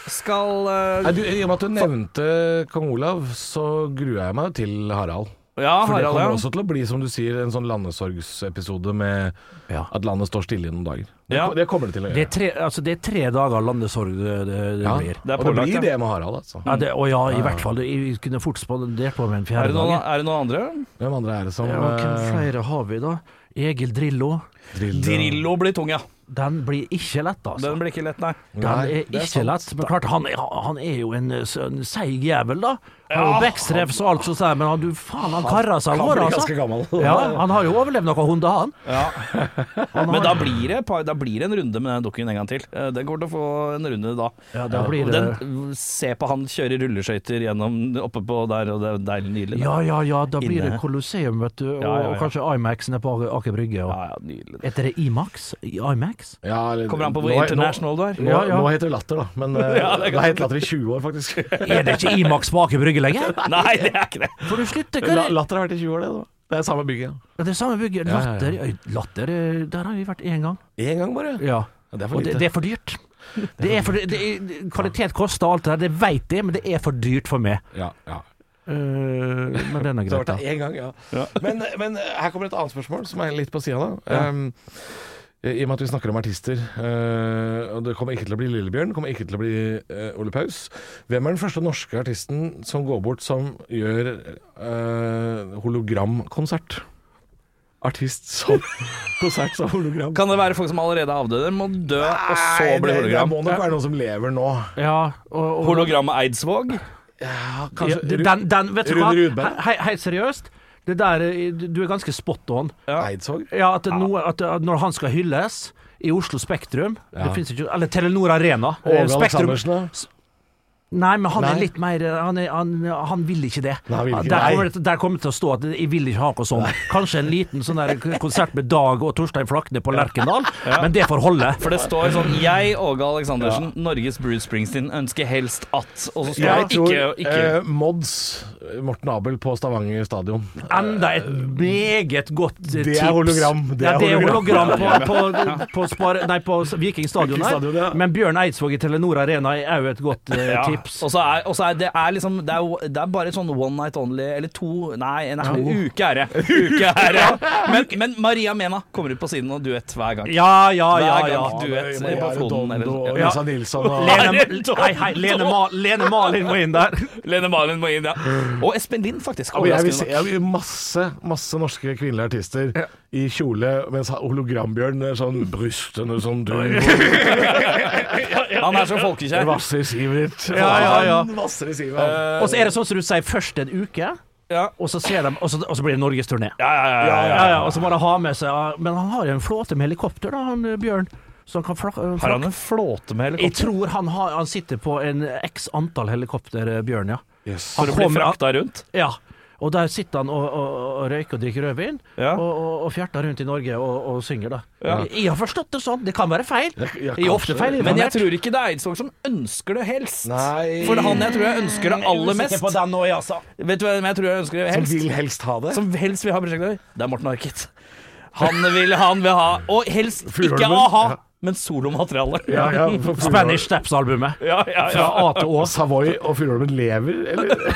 skal eh, Nei, du, I og med at du nevnte kong Olav, så gruer jeg meg til Harald. Ja, For det kommer Harald, ja. også til å bli, som du sier, en sånn landesorgsepisode med Ja. at landet står stille i noen dager. Det, Ja. det kommer det til å Det gjøre. er tre, altså det er tre dager landesorg det, det, det Ja. blir. Det er og det pålagt, ja. blir det med Harald, altså. Ja, det, og ja, i hvert fall. Jeg kunne fort spandert på med en Er fjerde det, noen, dag. er det noen andre? Hvem andre er det som Ja, hvem eh, flere har vi da? Egil Drillo. Drillo. Drillo blir tung, ja. Den blir ikke lett, altså. Den blir ikke lett, nei. Den Nei, er det er ikke sant. lett. Men klart, han er, han er jo en, eh, s- en seig jævel, da. Har jo Bekkstrevs og alt som sier, men han, du faen, han karra seg Han over, blir ganske altså. gammel. (laughs) Ja, han har jo overlevd noen hunder, han. (laughs) Men da blir, det, pa- da blir det en runde med den dukken en gang til. Eh, Den kommer til å få en runde da. Ja, da blir Og det Den, se på han kjøre rulleskøyter gjennom oppe på der, og det er deilig nydelig. Ja, ja, ja, da blir Inne. det Colosseum, vet du, og, Ja, ja, ja. og kanskje Imaxene på Aker- Aker Brygge. Og. ja, ja nydelig. Heter det Imax? I- Imax? Ja, eller- Kommer an på hvor Nå- nå- international du er. Nå, Ja, ja. nå heter det latter, da. Men eh, Ja, det er det ganske- har hett latter i 20 år, faktisk. Er det ikke Imax på Aker Brygge lenger? (laughs) Nei, det er ikke det. For du slutter, hva La, er det? latter har vært i 20 år, det. Da. Det er samme bygget. Det er samme bygget. Ja, ja, ja. Latter, øy, latter eh, Der har vi vært én gang. Én gang bare? Ja. Det er for Og det, lite. det er for dyrt. (laughs) Det er for, det, det, kvalitet koster alt det der, det veit jeg, men det er for dyrt for meg. Ja, ja. Eh, men den (laughs) er Så har vært greit, da. der én gang, ja. Men, men eh, her kommer et annet spørsmål som er litt på sida da. Um, I og med at vi snakker om artister, eh, og det kommer ikke til å bli Lillebjørn, det kommer ikke til å bli eh, Ole Paus. Hvem er den første norske artisten som går bort som gjør eh, hologramkonsert? Artist som konsert som hologram. Kan det være folk som allerede er avdøde? Må dø, og Nei, så det, bli det hologram. må nok være noen som lever nå. Ja, og, og, Hologram Eidsvåg? Ja, ja, kanskje Ru- den, den, vet du hva? Rune Rudberg. He- he- Helt seriøst, det der eh, Du du er ganske spot on. Eidsvåg? Ja, at, det nå- at, at når han skal hylles i Oslo Spektrum det finnes ikke, Eller Telenor Arena. Eh, Åge Spektrum- Aleksandersen, da? Nei, men han Nei. er litt mer Han, er, han, han vil ikke det. Nei, han vil ikke. der, Nei. kommer det, der kommer det til å stå at 'jeg vil ikke ha noe sånt'. Kanskje en liten sånn der k- konsert med Dag og Torstein Flakne på Lerkendal, (laughs) men det får holde. For det står sånn Jeg, Åge Aleksandersen, Norges Bruce Springsteen, ønsker helst at Og så står Jeg det tror ikke, ikke eh, Mods eh, Morten Abel på Stavanger stadion. Enda et meget godt eh, tips. Det er hologram. Det er, ja, det er hologram på, (laughs) på, på, spar, nei, på Viking stadion Stadion, ja. her. Men Bjørn Eidsvåg i Telenor Arena er òg et godt eh, Ja, tips. Og så er, og så er det er liksom det er, jo- det er bare sånn one night only, eller to Nei, en en uke er det. Uke er det. Men, men Maria Mena kommer ut på siden og duett hver gang. Ja, ja, Hver ja. gang ja. duett på floden. Og Eller, ja. Lisa Nilsson og Lene, hei, hei, Lene, Ma, Lene Malin må inn (laughs) der. Lene Malin må inn, ja. Og Espen Lind, faktisk. og jeg vil se overraskende jeg vil masse masse norske kvinnelige artister i kjole mens hologrambjørn er sånn Brystene som du nok. Han er så folkekjær. Vasser i sivet ditt. Ja, ja, ja. Han vasser i sivet. han. Og så er det sånn som du sier, først en uke, Ja. og så, ser de, og så, og så blir det Norges turné. Ja, ja, ja, ja, ja. Ja, ja, og så må de ha med seg ja, Men han har jo en flåte med helikopter, da, han eh, Bjørn. Så han kan flak, eh, Har flak. han en flåte med Jeg helikopter? tror han, har, han sitter på en x antall helikopter, eh, Bjørn, ja. Yes. For å bli kommer- frakta rundt? ja. Og der sitter han og, og, og røyker og drikker rødvin, Ja. og, og, og fjerter rundt i Norge og, og synger, da. Jeg har forstått det sånn, det kan være feil. ja, jeg er ofte kanskje. feil. Men jeg tror ikke det er Eidsvåg som ønsker det helst. Nei. For han jeg tror jeg ønsker det aller mest på den nå, jeg, altså. Vet du hvem jeg tror jeg ønsker det Som helst? vil helst ha det. som helst vil ha prosjektleder, det er Morten Harket. Han vil, han vil ha Og helst ikke Fuglehormen. a-ha, Ja. men solomateriale. Ja, ja, for- for- Spanish Steps-albumet. Ja, ja, ja. Fra A til Å. Savoy og Furuholmen lever, eller?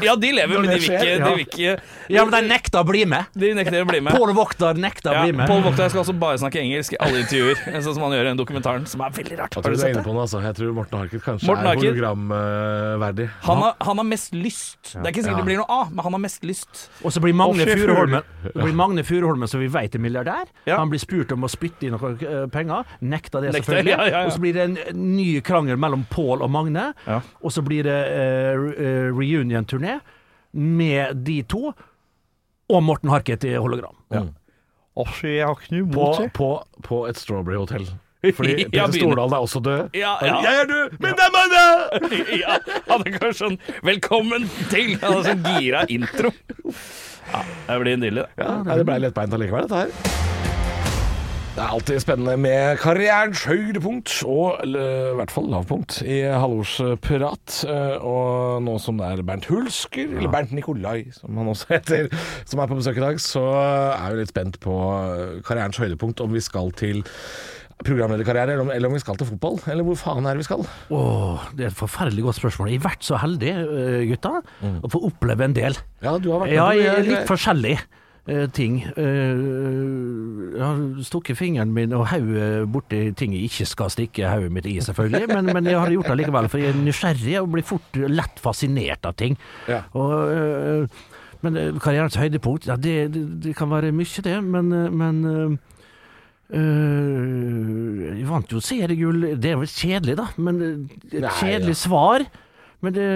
ja, de lever, men de det vil skjer, ikke ja. De, vil ikke, Ja, men de nekter å bli med. de nekter å bli med. Pål Vokter nekter å Ja, bli med. Pål Vokter skal også bare snakke engelsk i alle intervjuer, (laughs) sånn som han gjør i den dokumentaren, som er veldig rart. Jeg tror Har du du er sett inne det? på noe, altså. Jeg tror Morten Harket kanskje er Morten Harket. hologramverdig. Han har, han har mest lyst. Det er ikke sikkert det blir noe A, men han har mest lyst. Og så blir Magne Og Sjef Furuholmen, det blir Magne Furuholmen som vi vet er milliardær. Ja. Han blir spurt om å spytte inn noen eh, penger, nekta det Nekter, selvfølgelig. ja, ja, ja. Og så blir det en ny krangel mellom Pål og Magne. Ja. Og så blir det eh, re- eh, reunion-turné med de to, og Morten Harket i hologram. på, på, på et Strawberry (laughs) Hotel. Fordi Ja, Petter begynner. Stordalen er også død. Ja, ja. Jeg er død, men det er meg, da! (laughs) Ja, han er kanskje sånn 'velkommen til'. Han er sånn gira intro. Ja, det blir en dille. Ja, nei, det ble lettbeint allikevel, dette her. Det er alltid spennende med karrierens høydepunkt, og eller, i hvert fall lavpunkt, i halvårsprat. Eh, Og nå som det er Bernt Hulsker, eller Bernt Nikolai som han også heter, som er på besøk i dag, så er vi litt spent på eh, karrierens høydepunkt, om vi skal til programlederkarriere, eller om, eller om vi skal til fotball, eller hvor faen er det vi skal? Åh, det er et forferdelig godt spørsmål. Jeg har vært så heldig, eh, gutta, Mm. å få oppleve en del. Ja, du har vært Ja, på mye jeg er greier. litt forskjellig. eh, ting. Eh, jeg har stukket fingeren min og hodet borti ting jeg ikke skal stikke hodet mitt i, selvfølgelig. Men, men jeg har gjort det likevel, for jeg er nysgjerrig og blir fort lett fascinert av ting. Ja. Og, eh, men eh, karrierens høydepunkt, ja, det, det, det kan være mye, det. Men, eh, men eh, eh, Jeg vant jo seriegull. Det er vel kjedelig, da, men eh, et Nei, kjedelig svar. Men det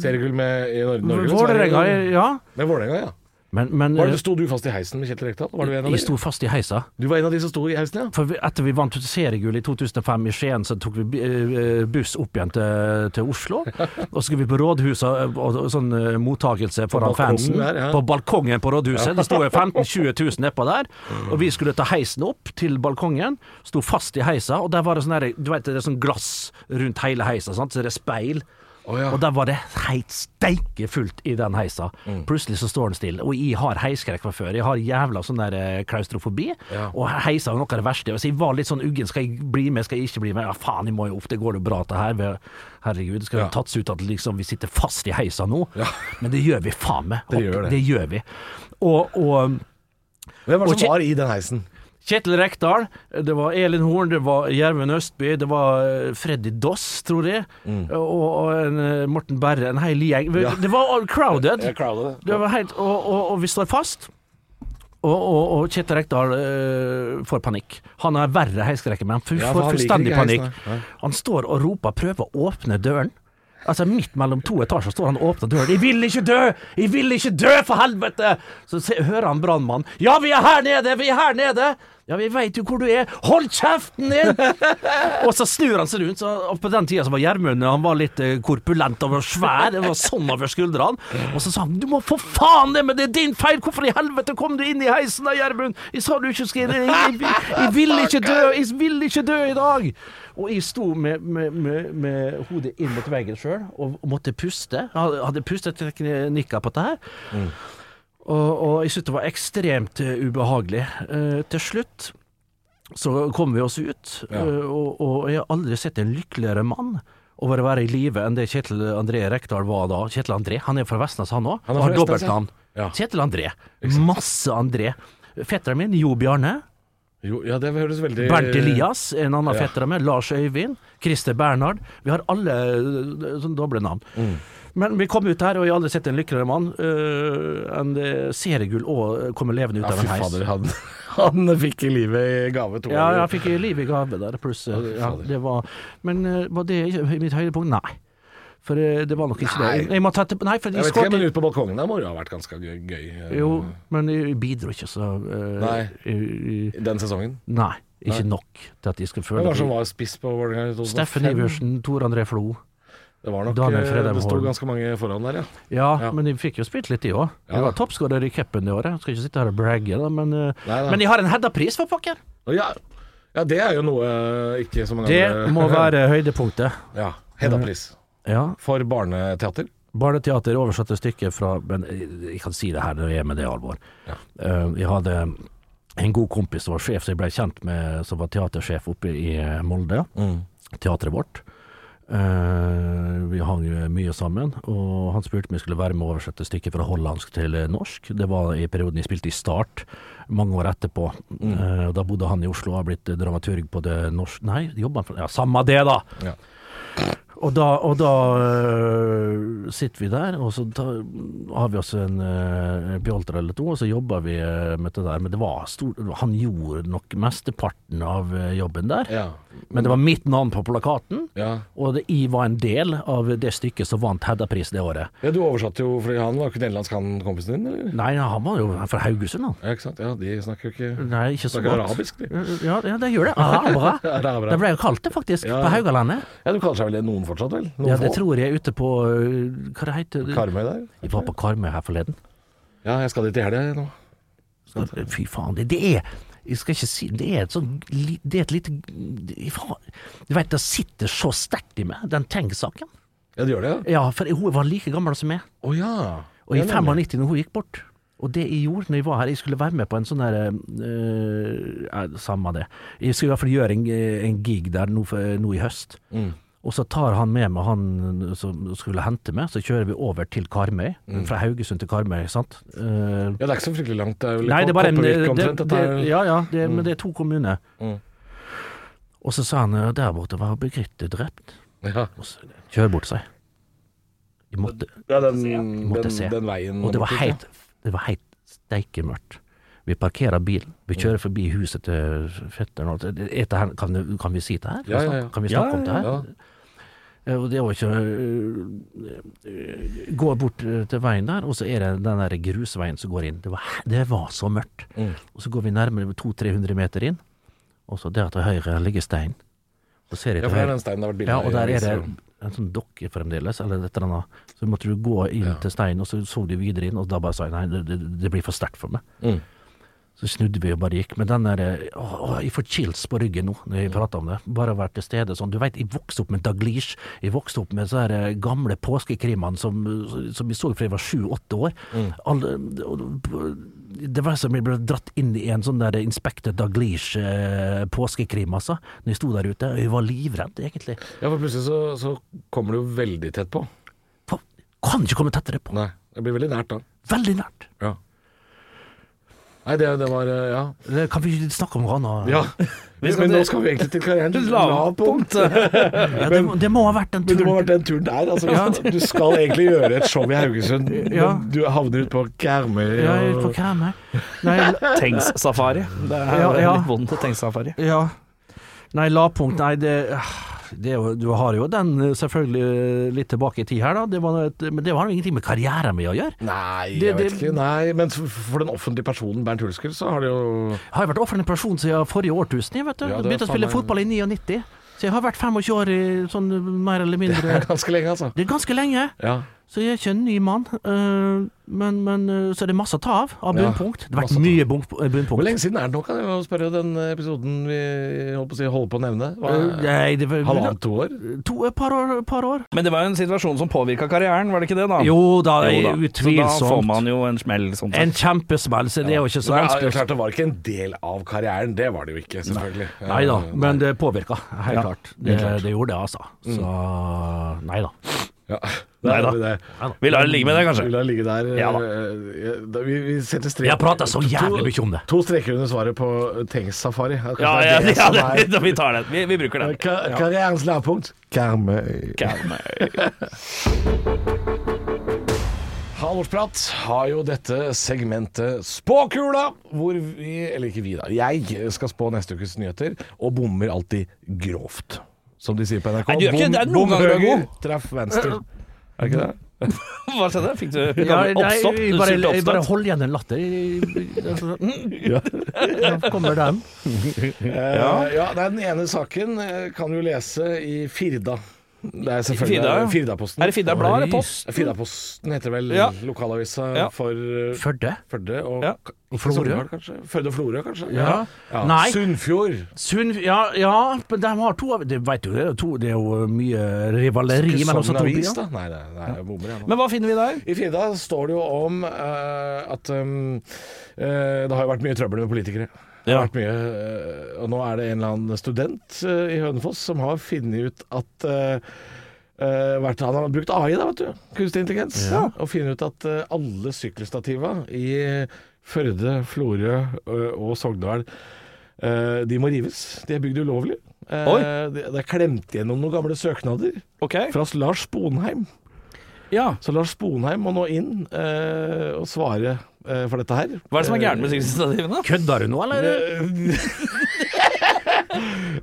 Seriegull med i Nor- Norge? eller Vålerenga, Sverige? ja. Med Vålerenga, ja. Men, men Var det, sto du fast i heisen med Kjetil Rekdal? Var du en av de? jeg sto fast i heisa. Du var en av de som sto i heisen, ja? For vi- etter vi vant seriegull i 2005 i Skien, så tok vi bi- eh, buss opp igjen til, til (laughs) Oslo. Og så skulle vi på rådhuset og, og sånn eh, mottakelse foran balkongen fansen. der, ja. På balkongen på rådhuset. Det sto jo 15 000-20 000 nedpå der. Mm. Og vi skulle ta heisen opp til balkongen. Sto fast i heisa, og der var det sånn der- du vet, det er sånn glass rundt hele heisa, sant? så det er speil. Å, ja. Og der var det helt steike fullt i den heisa. Mm. Plutselig så står den stille. Og jeg har heiskrekk fra før. Jeg har jævla sånn der eh, klaustrofobi. Ja. Og heisa var noe av det verste. Så jeg var litt sånn uggen. Skal jeg bli med, skal jeg ikke bli med? Ja, faen, jeg må jo opp. Det går jo bra, dette her. Vi- Herregud. Det skal jo Ja. tatts ut at liksom, vi sitter fast i heisa nå. Men det gjør vi faen meg. Det gjør det. det gjør vi. Og, og Hvem var Og det som Kje- var i den heisen? Kjetil Rekdal, det var Elin Horn, det var Gjermund Østby, det var eh, Freddy Doss, tror jeg, og, og en, eh, Morten Berre, en hel gjeng. Vi- Det var all crowded. Det var helt, og, og, og vi står fast. Og, og, og Kjetil Rekdal eh, får panikk. Han har verre heiskrekke, men han får Ja, for får han liker fullstendig ikke heisen, panikk. nei. Han står og roper, prøver å åpne døren. Altså Midt mellom to etasjer står han og åpner døren. 'Jeg vil ikke dø! Jeg vil ikke dø, for helvete!' Så se, hører han brannmannen. 'Ja, vi er her nede! Vi er her nede!' 'Ja, vi veit jo hvor du er! Hold kjeften din!' og så snur han seg rundt. Så, og på den tida så var Gjermund Han var litt eh, korpulent og var svær. Det var sånn over skuldrene. Og så sa han 'Du må for faen det, men det er din feil! Hvorfor i helvete kom du inn i heisen da, Gjermund?' 'Jeg sa du ikke skulle inn. Jeg, jeg, jeg vil ikke dø! Jeg vil ikke dø i dag!' Og jeg sto med, med, med, med hodet inn mot veggen sjøl og måtte puste. Jeg hadde- hadde pusteteknikker på dette her. Og, og jeg syntes det var ekstremt eh, ubehagelig. Eh, til slutt så kom vi oss ut, eh, og, og jeg har aldri sett en lykkeligere mann over å være i live enn det Kjetil André Rekdal var da. Kjetil André, han er fra Vestnes, han òg. er Han har fra Vestnes, dobbeltnavn. ja. Ja. Kjetil André. Masse André. Fetteren min, Jo Bjarne. Jo, ja, det høres veldig Bernt Elias, en annen Eh, Ja. fetter av meg. Lars Øyvind. Christer Bernhard. Vi har alle eh, sånn doble navn. Mm. Men vi kom ut her, og jeg har aldri sett en lykkeligere mann eh, enn det seriegull og kommer levende ut Ja, av fy en heis. fader, han, (laughs) han fikk i livet i gave to Ja, jeg ganger. fikk liv i gave der, pluss eh, fy ja, fader. det var Men eh, var det ikke mitt høydepunkt? Nei. For eh, det var nok ikke det. Nei. Jeg, må ta til, nei, for de Jeg vet ikke, skårte- men ute på balkongen der må det jo ha vært ganske gøy, gøy eh, Jo, men jeg bidro ikke så eh, Nei. i- i- den sesongen. nei. Ikke nok til at de skulle Hvem føle var det som var spiss på Vålerenga i 2005? Steffen Iversen, Tor André Flo. Det var nok Daniel eh, Fredheim Det sto Holm. ganske mange foran der, ja. Ja, Ja. men de fikk jo spilt litt, de òg. Ja. Jeg var toppskårer i cupen det året. Jeg Skal ikke sitte her og bragge, da, men, eh, Nei, nei. men jeg har en Hedda-pris, for pokker! Og ja. Ja, det er jo noe eh, ikke så mange Det andre- (laughs) må være Mm. høydepunktet. Ja. Hedda-pris Ja. for barneteater. Barneteater oversatte stykket fra Men jeg jeg kan si det her når jeg er med det i alvor. Eh, Jeg hadde en god kompis som var sjef, som jeg ble kjent med, som var teatersjef oppe i eh, Molde. Teatret vårt. Eh, vi hang eh, mye sammen, og han spurte om jeg skulle være med å oversette stykket fra hollandsk til eh, norsk. Det var i perioden jeg spilte i Start, mange år etterpå. Eh, og da bodde han i Oslo og har blitt eh, dramaturg på det norske Nei, jobba han for Ja, samme det, da! Ja. Og da, og da øh, sitter vi der, og så tar, har vi oss en øh, pjolter eller to, og så jobber vi øh, med det der. Men det var stor, han gjorde nok mesteparten av øh, jobben der. Ja. Men det var mitt navn på plakaten, ja. og det, jeg var en del av det stykket som vant Hedda-pris det året. Ja, Du oversatte jo fordi han var ikke nederlandsk, han kompisen din, eller? Nei, han var jo fra Haugesund, han. Ja, ikke sant? Ja, de snakker jo ikke Nei, ikke så Snakker godt. arabisk, (laughs) de. Ja, ja, det gjør det. (laughs) Arabere. Arabere. Det ble jo kalt det, faktisk, Ja. på Haugalandet. Ja, du kaller seg vel det noen fortsatt, vel? Noen Ja, det få? tror jeg er ute på øh, Hva det heter det? Karmøy der? Vi var på Karmøy her forleden. Ja, jeg skal dit i helga nå. eh, Fy faen, det, det er jeg skal ikke si, Det er et sånn li- Det er et lite jeg har- Du vet, det sitter så sterkt i meg, den Teng-saken. Ja, du gjør det, ja? Ja, for hun var like gammel som meg, Å ja. og i Ja, nemlig. 95 når hun gikk bort. Og det jeg gjorde når jeg var her, jeg skulle være med på en sånn der øh, ja, Samme det. Jeg skulle i hvert fall gjøre en, eh, en gig der nå, for, nå i høst. Mm. Og så tar han med meg han eh, som skulle hente meg, så kjører vi over til Karmøy. Mm. Fra Haugesund til Karmøy, sant. Eh, Ja, det er ikke så fryktelig langt. Det er vel Nei, det er bare en eh, Kopervik det, omtrent. det, dette er- Mm. Ja, ja, det, men det er to kommuner. Og så sa han eh, der borte var Birgitte drept. ja. Og så kjører bort seg. Jeg måtte, Ja, den, måtte den, se. den veien og det var borte, helt, det var helt steike mørkt. Vi parkerer bilen, vi Mm. kjører forbi huset til fetteren. og alt. Er det her- Kan, kan vi si det her? Ja, ja, ja. Kan vi snakke om det her? Ja. Eh, Og det er jo ikke eh, eh, Går bort eh, til veien der, og så er det den der grusveien som går inn. Det var, det var så mørkt. Mm. Og så går vi nærmere 200-300 meter inn, og så der til høyre ligger steinen. Og ser jeg Ja, til for det er høyre- den steinen det har vært bilde ja, av og i der er det aviser. en sånn dokke fremdeles, eller et eller annet. Så måtte du gå inn til steinen, og så så du videre inn, og da bare sa jeg nei, det- det, det blir for sterkt for meg. Mm. Så snudde vi og bare gikk. Men den der å, å, Jeg får chills på ryggen nå når Mm. jeg prater om det. Bare å være til stede sånn. Du veit, jeg vokste opp med Daglish. Jeg vokste opp med så her eh, gamle påskekrimene som, som jeg så fra jeg var sju-åtte år. Mm. Alle, og- det var som jeg ble dratt inn i en sånn der Inspector Daglish eh, påskekrim, altså. Når jeg sto der ute. Jeg var livredd, egentlig. Ja, for plutselig så, så kommer du jo veldig tett på. Fa- Kan ikke komme tettere på. Nei, det blir veldig nært da. Veldig nært. Ja. Nei, det, det var eh, Ja. Eh, Kan vi snakke om noe annet? Men nå skal vi egentlig til karrierens lavpunkt. (laughs) Ja, det, må- det må ha vært den Men det må ha turen. vært den turen der. Altså, Du skal egentlig gjøre et show i Haugesund, Ja. men du havner ute på Karmøy. Ja, og- på Karmøy. Nei, Tengs-safari. Det er Ja, ja. litt vondt å tengs-safari. Ja. Nei, lavpunkt Nei, det, ah, det er jo, du har jo den eh, selvfølgelig eh, litt tilbake i tid her, da. Det var, et- men det har jo ingenting med karrieren min å gjøre. Nei, Det- jeg vet det- ikke. Nei, men for- for den offentlige personen Bernt Hulsker, så har det jo Jeg har jo vært offentlig person siden forrige årtusen. Jeg vet du. Ja, det er Begynte å spille faen meg- fotball i 99. Så jeg har vært 25 år i sånn eh, mer eller mindre ganske lenge, altså. Det er ganske lenge, Ja. så jeg er ikke en ny mann. eh, men, men eh, så er det masse å ta av av Ja, bunnpunkt. Det har masse å ta vært mye bunk- Hvor bunnpunkt. lenge siden er det nå, kan jeg jo spørre, den episoden vi holdt på å, si, holder på å nevne? Eh, Hva- Nei, det var Halvannet, to år? to, et par år. Par år. Men det var jo en situasjon som påvirka karrieren, var det ikke det, da? Jo da, Jo da. Så da får utvilsomt. man jo en smell, sånn sett. En kjempesmell, så det er jo ikke så Nei, vanskelig. det er klart det var ikke en del av karrieren, det var det jo ikke, selvfølgelig. Nei da, Eh, men det påvirka, helt Ja, klart. Det, det gjorde det, altså. Så nei da. Ja. Nei da. Det, det. Vi lar det ligge med det, Vi kanskje. lar ligge der. Ja da. eh, da. Vi, vi setter strek Jeg prater så jævlig mye om det. To streker under svaret på Tengs Safari. kanskje Ja, (laughs) det er ja, det ja, som er- det, vi tar den. Vi, vi bruker den. Ka- Karrierens lavpunkt Karmøy. (laughs) Halvorsprat har jo dette segmentet Spåkula, hvor vi, eller ikke vi da, jeg skal spå neste ukes nyheter, og bommer alltid grovt. Som de sier på NRK. Nei, du gjør ikke det. Det er noen bom ganger du er høyre, god. treff venstre. Er det ikke det? (laughs) Hva skjedde? Fikk du Ja, gammel nei, oppstopp? Du jeg bare, sulte jeg bare oppstøt? hold igjen en latter. Jeg- Da kommer den. Eh, ja, det er den ene saken eh, kan du lese i Firda. Det er selvfølgelig Firda, ja. Firdaposten. Er det Firda Blad eller Oi. Post? Firdaposten heter vel Ja. lokalavisa Ja. for eh, Førde. Førde og, Ja. Og Florø. Sogndal, kanskje? Førde og Florø, kanskje? Ja. Nei. Sunnfjord. Sund Ja, ja men de har to av Det vet du, det er, to, det er jo mye rivaleri mellom Sogn sånne to Avis, byer. da? Nei, nei, nei jeg bommer jeg nå. Men hva finner vi der? I Firda står det jo om eh, at um, eh, det har jo vært mye trøbbel med politikere. Det har Ja. vært mye, eh, og nå er det en eller annen student eh, i Hønefoss som har funnet ut at eh, eh, vært, Han har brukt AI, da, vet du. Kunstig intelligens. Og funnet ut at eh, alle sykkelstativa i Førde, Florø eh, og Sogndal eh, de må rives. De er bygd ulovlig. Eh, Oi. det, det er klemt gjennom noen gamle søknader Ok. fra Lars Sponheim. Ja. Så Lars Sponheim må nå inn eh, og svare eh, for dette her. Hva er det som er gærent Eh, med (laughs) sykkelstativene? Kødder du nå, eller?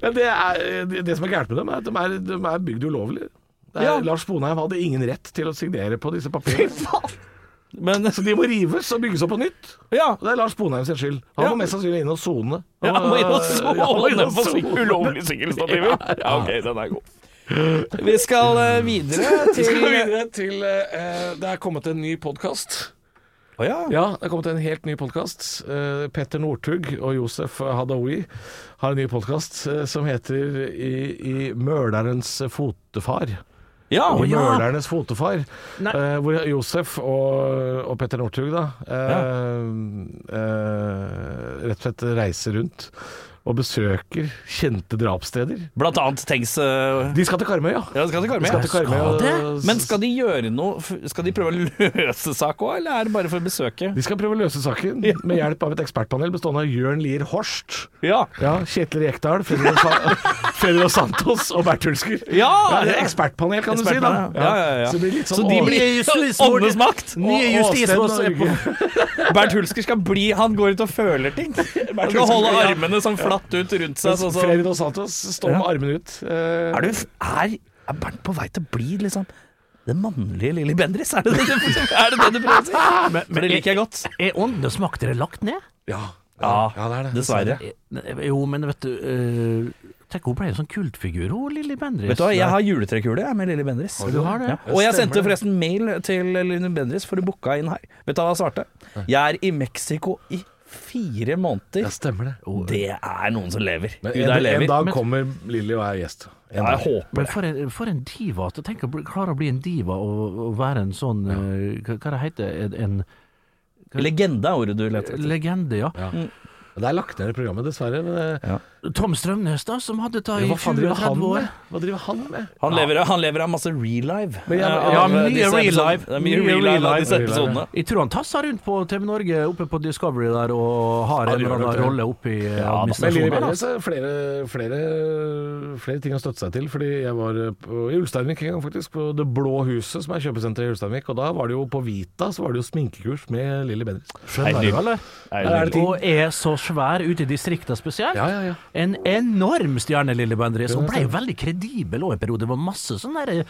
Ja, det, er, det, det som er gærent med dem, er at de er, de er bygd ulovlig. Det er, Ja. Lars Sponheim hadde ingen rett til å signere på disse papirene. Men Så de må rives og bygges opp på nytt. ja. Og det er Lars Sponheim sin skyld. Han Ja. må mest sannsynlig inn og sone. Ja, Han må inn og Ja, han må inn sone og på sone. syk- ulovlige sykkelstativer. Ja, ok, den er god. Vi skal eh, videre Vi (laughs) skal gå til videre til eh, Det er kommet en ny podkast. Å ja. Ja, det er kommet en helt ny podkast. Petter Northug og Josef Hadaoui har en ny podkast som heter I, I mølerens fotefar. Ja, I ja. Mølernes fotefar. eh, hvor Josef og, og Petter Northug da eh, eh, rett og slett reiser rundt og besøker kjente drapssteder. Blant annet tenks eh, De skal til Karmøy, ja. Ja, skal til De skal Karmøy. til Karmøy og- Men skal de gjøre noe f- Skal de prøve å løse sak òg, eller er det bare for besøket? de skal prøve å løse saken med hjelp av et ekspertpanel bestående av Jørn Lier Horst. Ja. Ja, Kjetil Rekdal, Fredrik Sa- (laughs) Fredrik Santos og Bert Hulsker. Ja, det er ekspertpanel, kan du si. da Ekspertpanel, ja. Ja, ja, ja. Så det blir litt sånn Så de å- (laughs) blir Åndenes makt! Nye Å- Åsted justisråd er på Norge. (laughs) Bernt Hulsker skal bli Han går ut og føler ting. Han skal holde armene sånn flatt ut rundt seg. Sånn som Fredrik Santos står med armene ut. Eh, Er du f- Er Er Bernt på vei til å bli liksom den mannlige Lilly Bendriss? Er det det, du- er det det du prøver å si? (laughs) For det liker jeg godt. Er Åndenes makt er det lagt ned? Ja. Ja, det er det. dessverre. Eh, Jo, men vet du eh, Tenk, hun ble en sånn kultfigur, hun Lilly Bendriss. Vet du hva, jeg har juletrekule jeg, med Lilly Bendriss. Du har det? Ja. Og stemmer, jeg sendte det. forresten mail til Lilly Bendriss, for hun booka inn her. Vet du hva jeg svarte? Jeg er i Mexico i fire måneder. stemmer det. Det er noen som lever. Men Gud, jeg en, en lever. dag kommer Lilly og jeg er gjest. En Ja, dag. jeg håper Men for en, for en diva. at- Tenk å bli- klare å bli en diva og, og være en sånn eh, Hva, hva det heter det? En, Legende er ordet du leter en etter. legende, ja. Det er lagt ned i programmet, dessverre. Men det, Tom Strømnes, da, som hadde tatt i hva faen driver han 20-30 år. med? Hva driver han med? Han lever, han lever av masse real live. Men jeg- eh, av, ja, eh, mye disse real episodene. life. Det er mye Mye real live real av life. disse Real life, episodene. Jeg tror han tasser rundt på TV Norge oppe på Discovery der og har en gjør eller nok annen det. rolle oppe i eh, da. Men Lilly administrasjonen. der, Bendriss altså. er flere, flere, flere ting å støtte seg til. Fordi jeg var eh, på, i Ulsteinvik en gang, faktisk. På Det Blå Huset, som er kjøpesenteret i Ulsteinvik. Og da var det jo på Vita så var det jo sminkekurs med Lilly Bendriss. Skjønner du, eller? Her er det ting. Og er så svær ute i distriktene spesielt. Ja, ja, ja. En enorm stjerne, Lille Bendriss. Hun ble jo veldig kredibel òg en periode. Det var masse sånne der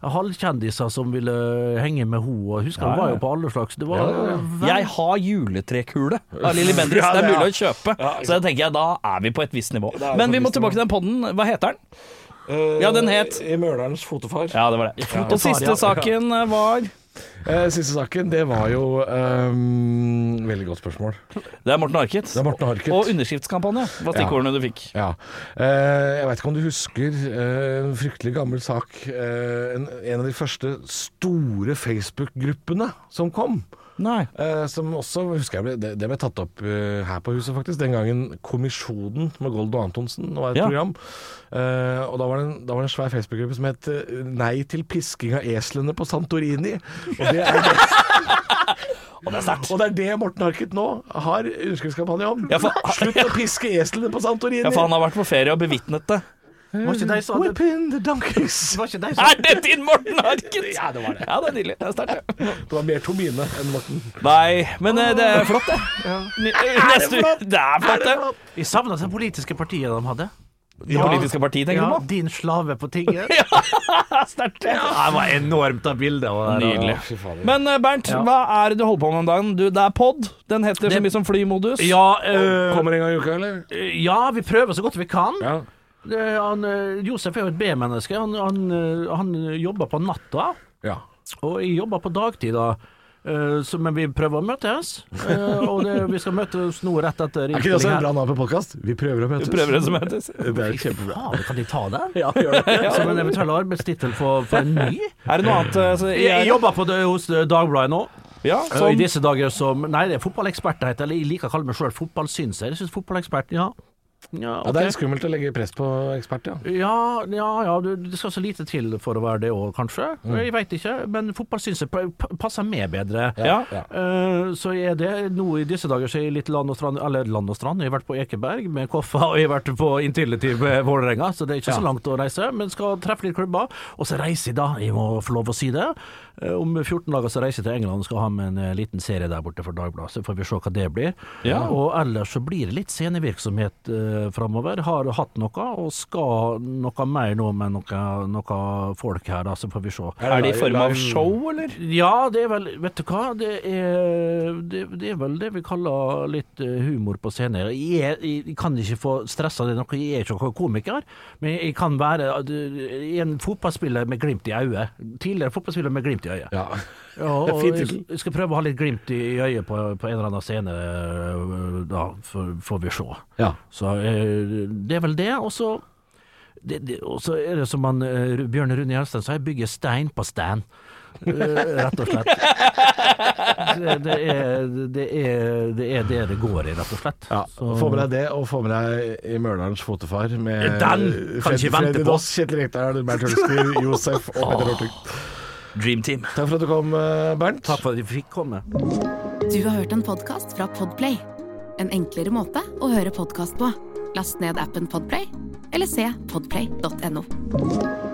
halvkjendiser som ville eh, henge med henne. og Husker hun var jo på alle slags Det var veldig Jeg har juletrekule av Lilly (laughs) Bendriss. Ja, Det er det er- mulig å kjøpe. Så jeg tenker jeg, da er vi på et visst nivå. er Men på vi et må visst tilbake til den podden. Hva heter den? Ja, den het- I Mølerens fotofar. Ja, det var det. Og siste ja. saken var Eh, siste saken, det var jo ehm, Veldig godt spørsmål. Det er Morten Harket. Det er Morten Harket. Og underskriftskampanje var stikkordene du fikk. Ja. Eh, jeg veit ikke om du husker eh, en fryktelig gammel sak. Eh, en, en av de første store Facebook-gruppene som kom. Nei. Eh, som også, husker jeg, ble, det, det ble tatt opp eh, her på huset, faktisk. Den gangen Kommisjonen med Goldo Antonsen var et Ja. program. Eh, og da var, det en, da var det en svær Facebook-gruppe som het eh, 'Nei til pisking av eslene på Santorini'. Og det er (laughs) det, og det er sterkt. Og det er det Morten Harket nå har underskriftskampanje om. Ja, for- Slutt å piske eslene på Santorini! Ja, for han har vært på ferie og bevitnet det. Var ikke de som hadde- Whip in the donkeys! var ikke de som- (laughs) Er det din Morten Harket? Ja, det var det. Ja, det er nydelig. Det er sterkt. ja. Det var mer Tomine enn Morten. (laughs) Nei, men eh, det er flott, det. Ny- (laughs) Neste uke. Det er flott, det. Jeg savna det politiske partiet de hadde. Det politiske partiet, tenker Ja, du på? din slave på tinget. (laughs) Ja, Det var enormt av bilder. og- Nydelig. Å, fy fader. Men eh, Bernt, hva er det du holder på med om dagen? Du, det er pod. Den heter så mye som Flymodus. Ja, eh, Kommer en gang i uka, eller? ja, vi prøver så godt vi kan. Ja. Eh, Han, eh, Josef er jo et B-menneske. Han, han, eh, han jobber på natta, ja. og jeg jobber på dagtid. da. Eh, så, men vi prøver å møtes, Eh, og det, vi skal møtes nå rett etter Er ikke det også innspilling altså, en bra navn på podkast? Vi prøver å møtes. Vi (laughs) prøver det som heter. Det er her. kjempebra. Faen, kan de ta den? Ja, gjør det. Som en eventuell arbeidstittel for, for en ny? Er det noe annet? eh, så- Jeg jobber på det, hos eh, Dagbladet nå. Ja, Og I sånn. disse dager som Nei, det er fotballekspert det heter. Eller jeg liker å kalle meg sjøl fotballsynser. Jeg syns fotballekspert Ja. Ja, Ja, det ok. er skummelt å legge press på ekspert, ja. Ja, ja, ja du, det skal så lite til for å være det òg, kanskje. Jeg veit ikke. Men fotball syns jeg pa- pa- passer meg bedre. Ja. Eh, så jeg er det nå i disse dager så er jeg litt land og strand Eller land og strand. Jeg har vært på Ekeberg med Koffa, og jeg har vært på Intility med Vålerenga, så det er ikke så langt å reise. Men skal treffe litt klubber. Og så reiser jeg da, jeg må få lov å si det. Eh, om 14 dager så reiser jeg til England og skal ha med en eh, liten serie der borte for Dagbladet. Så får vi se hva det blir. Eh, Ja. Og ellers så blir det litt scenevirksomhet eh, framover. Har hatt noe, og skal noe mer nå med noe, noe folk her, da, så får vi se. Er det i form av show, eller? Ja, det er vel Vet du hva? Det er, det, det er vel det vi kaller litt eh, humor på scenen. Jeg, er- jeg kan ikke få stressa det noe, jeg er ikke noen komiker. Men jeg kan være eh, jeg er en fotballspiller med glimt i øyet. Tidligere fotballspiller med glimt i øyet. Ja. Ja, og Fin jeg tittel. jeg skal prøve å ha litt glimt i i øyet på, på en eller annen scene, eh, da får får vi se. ja. Så eh, det er vel det. Og så det, det, og så er det som han, eh, Bjørn Rune Gjelsten sa, jeg bygger stein på stein. Eh, rett og slett. Det, det, er, det, er, det er det det går i, rett og slett. Ja, Få med deg det, og få med deg I Mørlands fotefar med Den kan Fred- ikke vente Freddy på. Doss, Kjetil Rekdal, Bernt Hulsker, Josef og Petter Northug. Dream Team. Takk for at du kom, eh, Bernt. Takk for at jeg fikk komme. Du har hørt en podcast fra Podplay. En enklere måte å høre podcast på. Last ned appen Podplay, eller se podplay.no.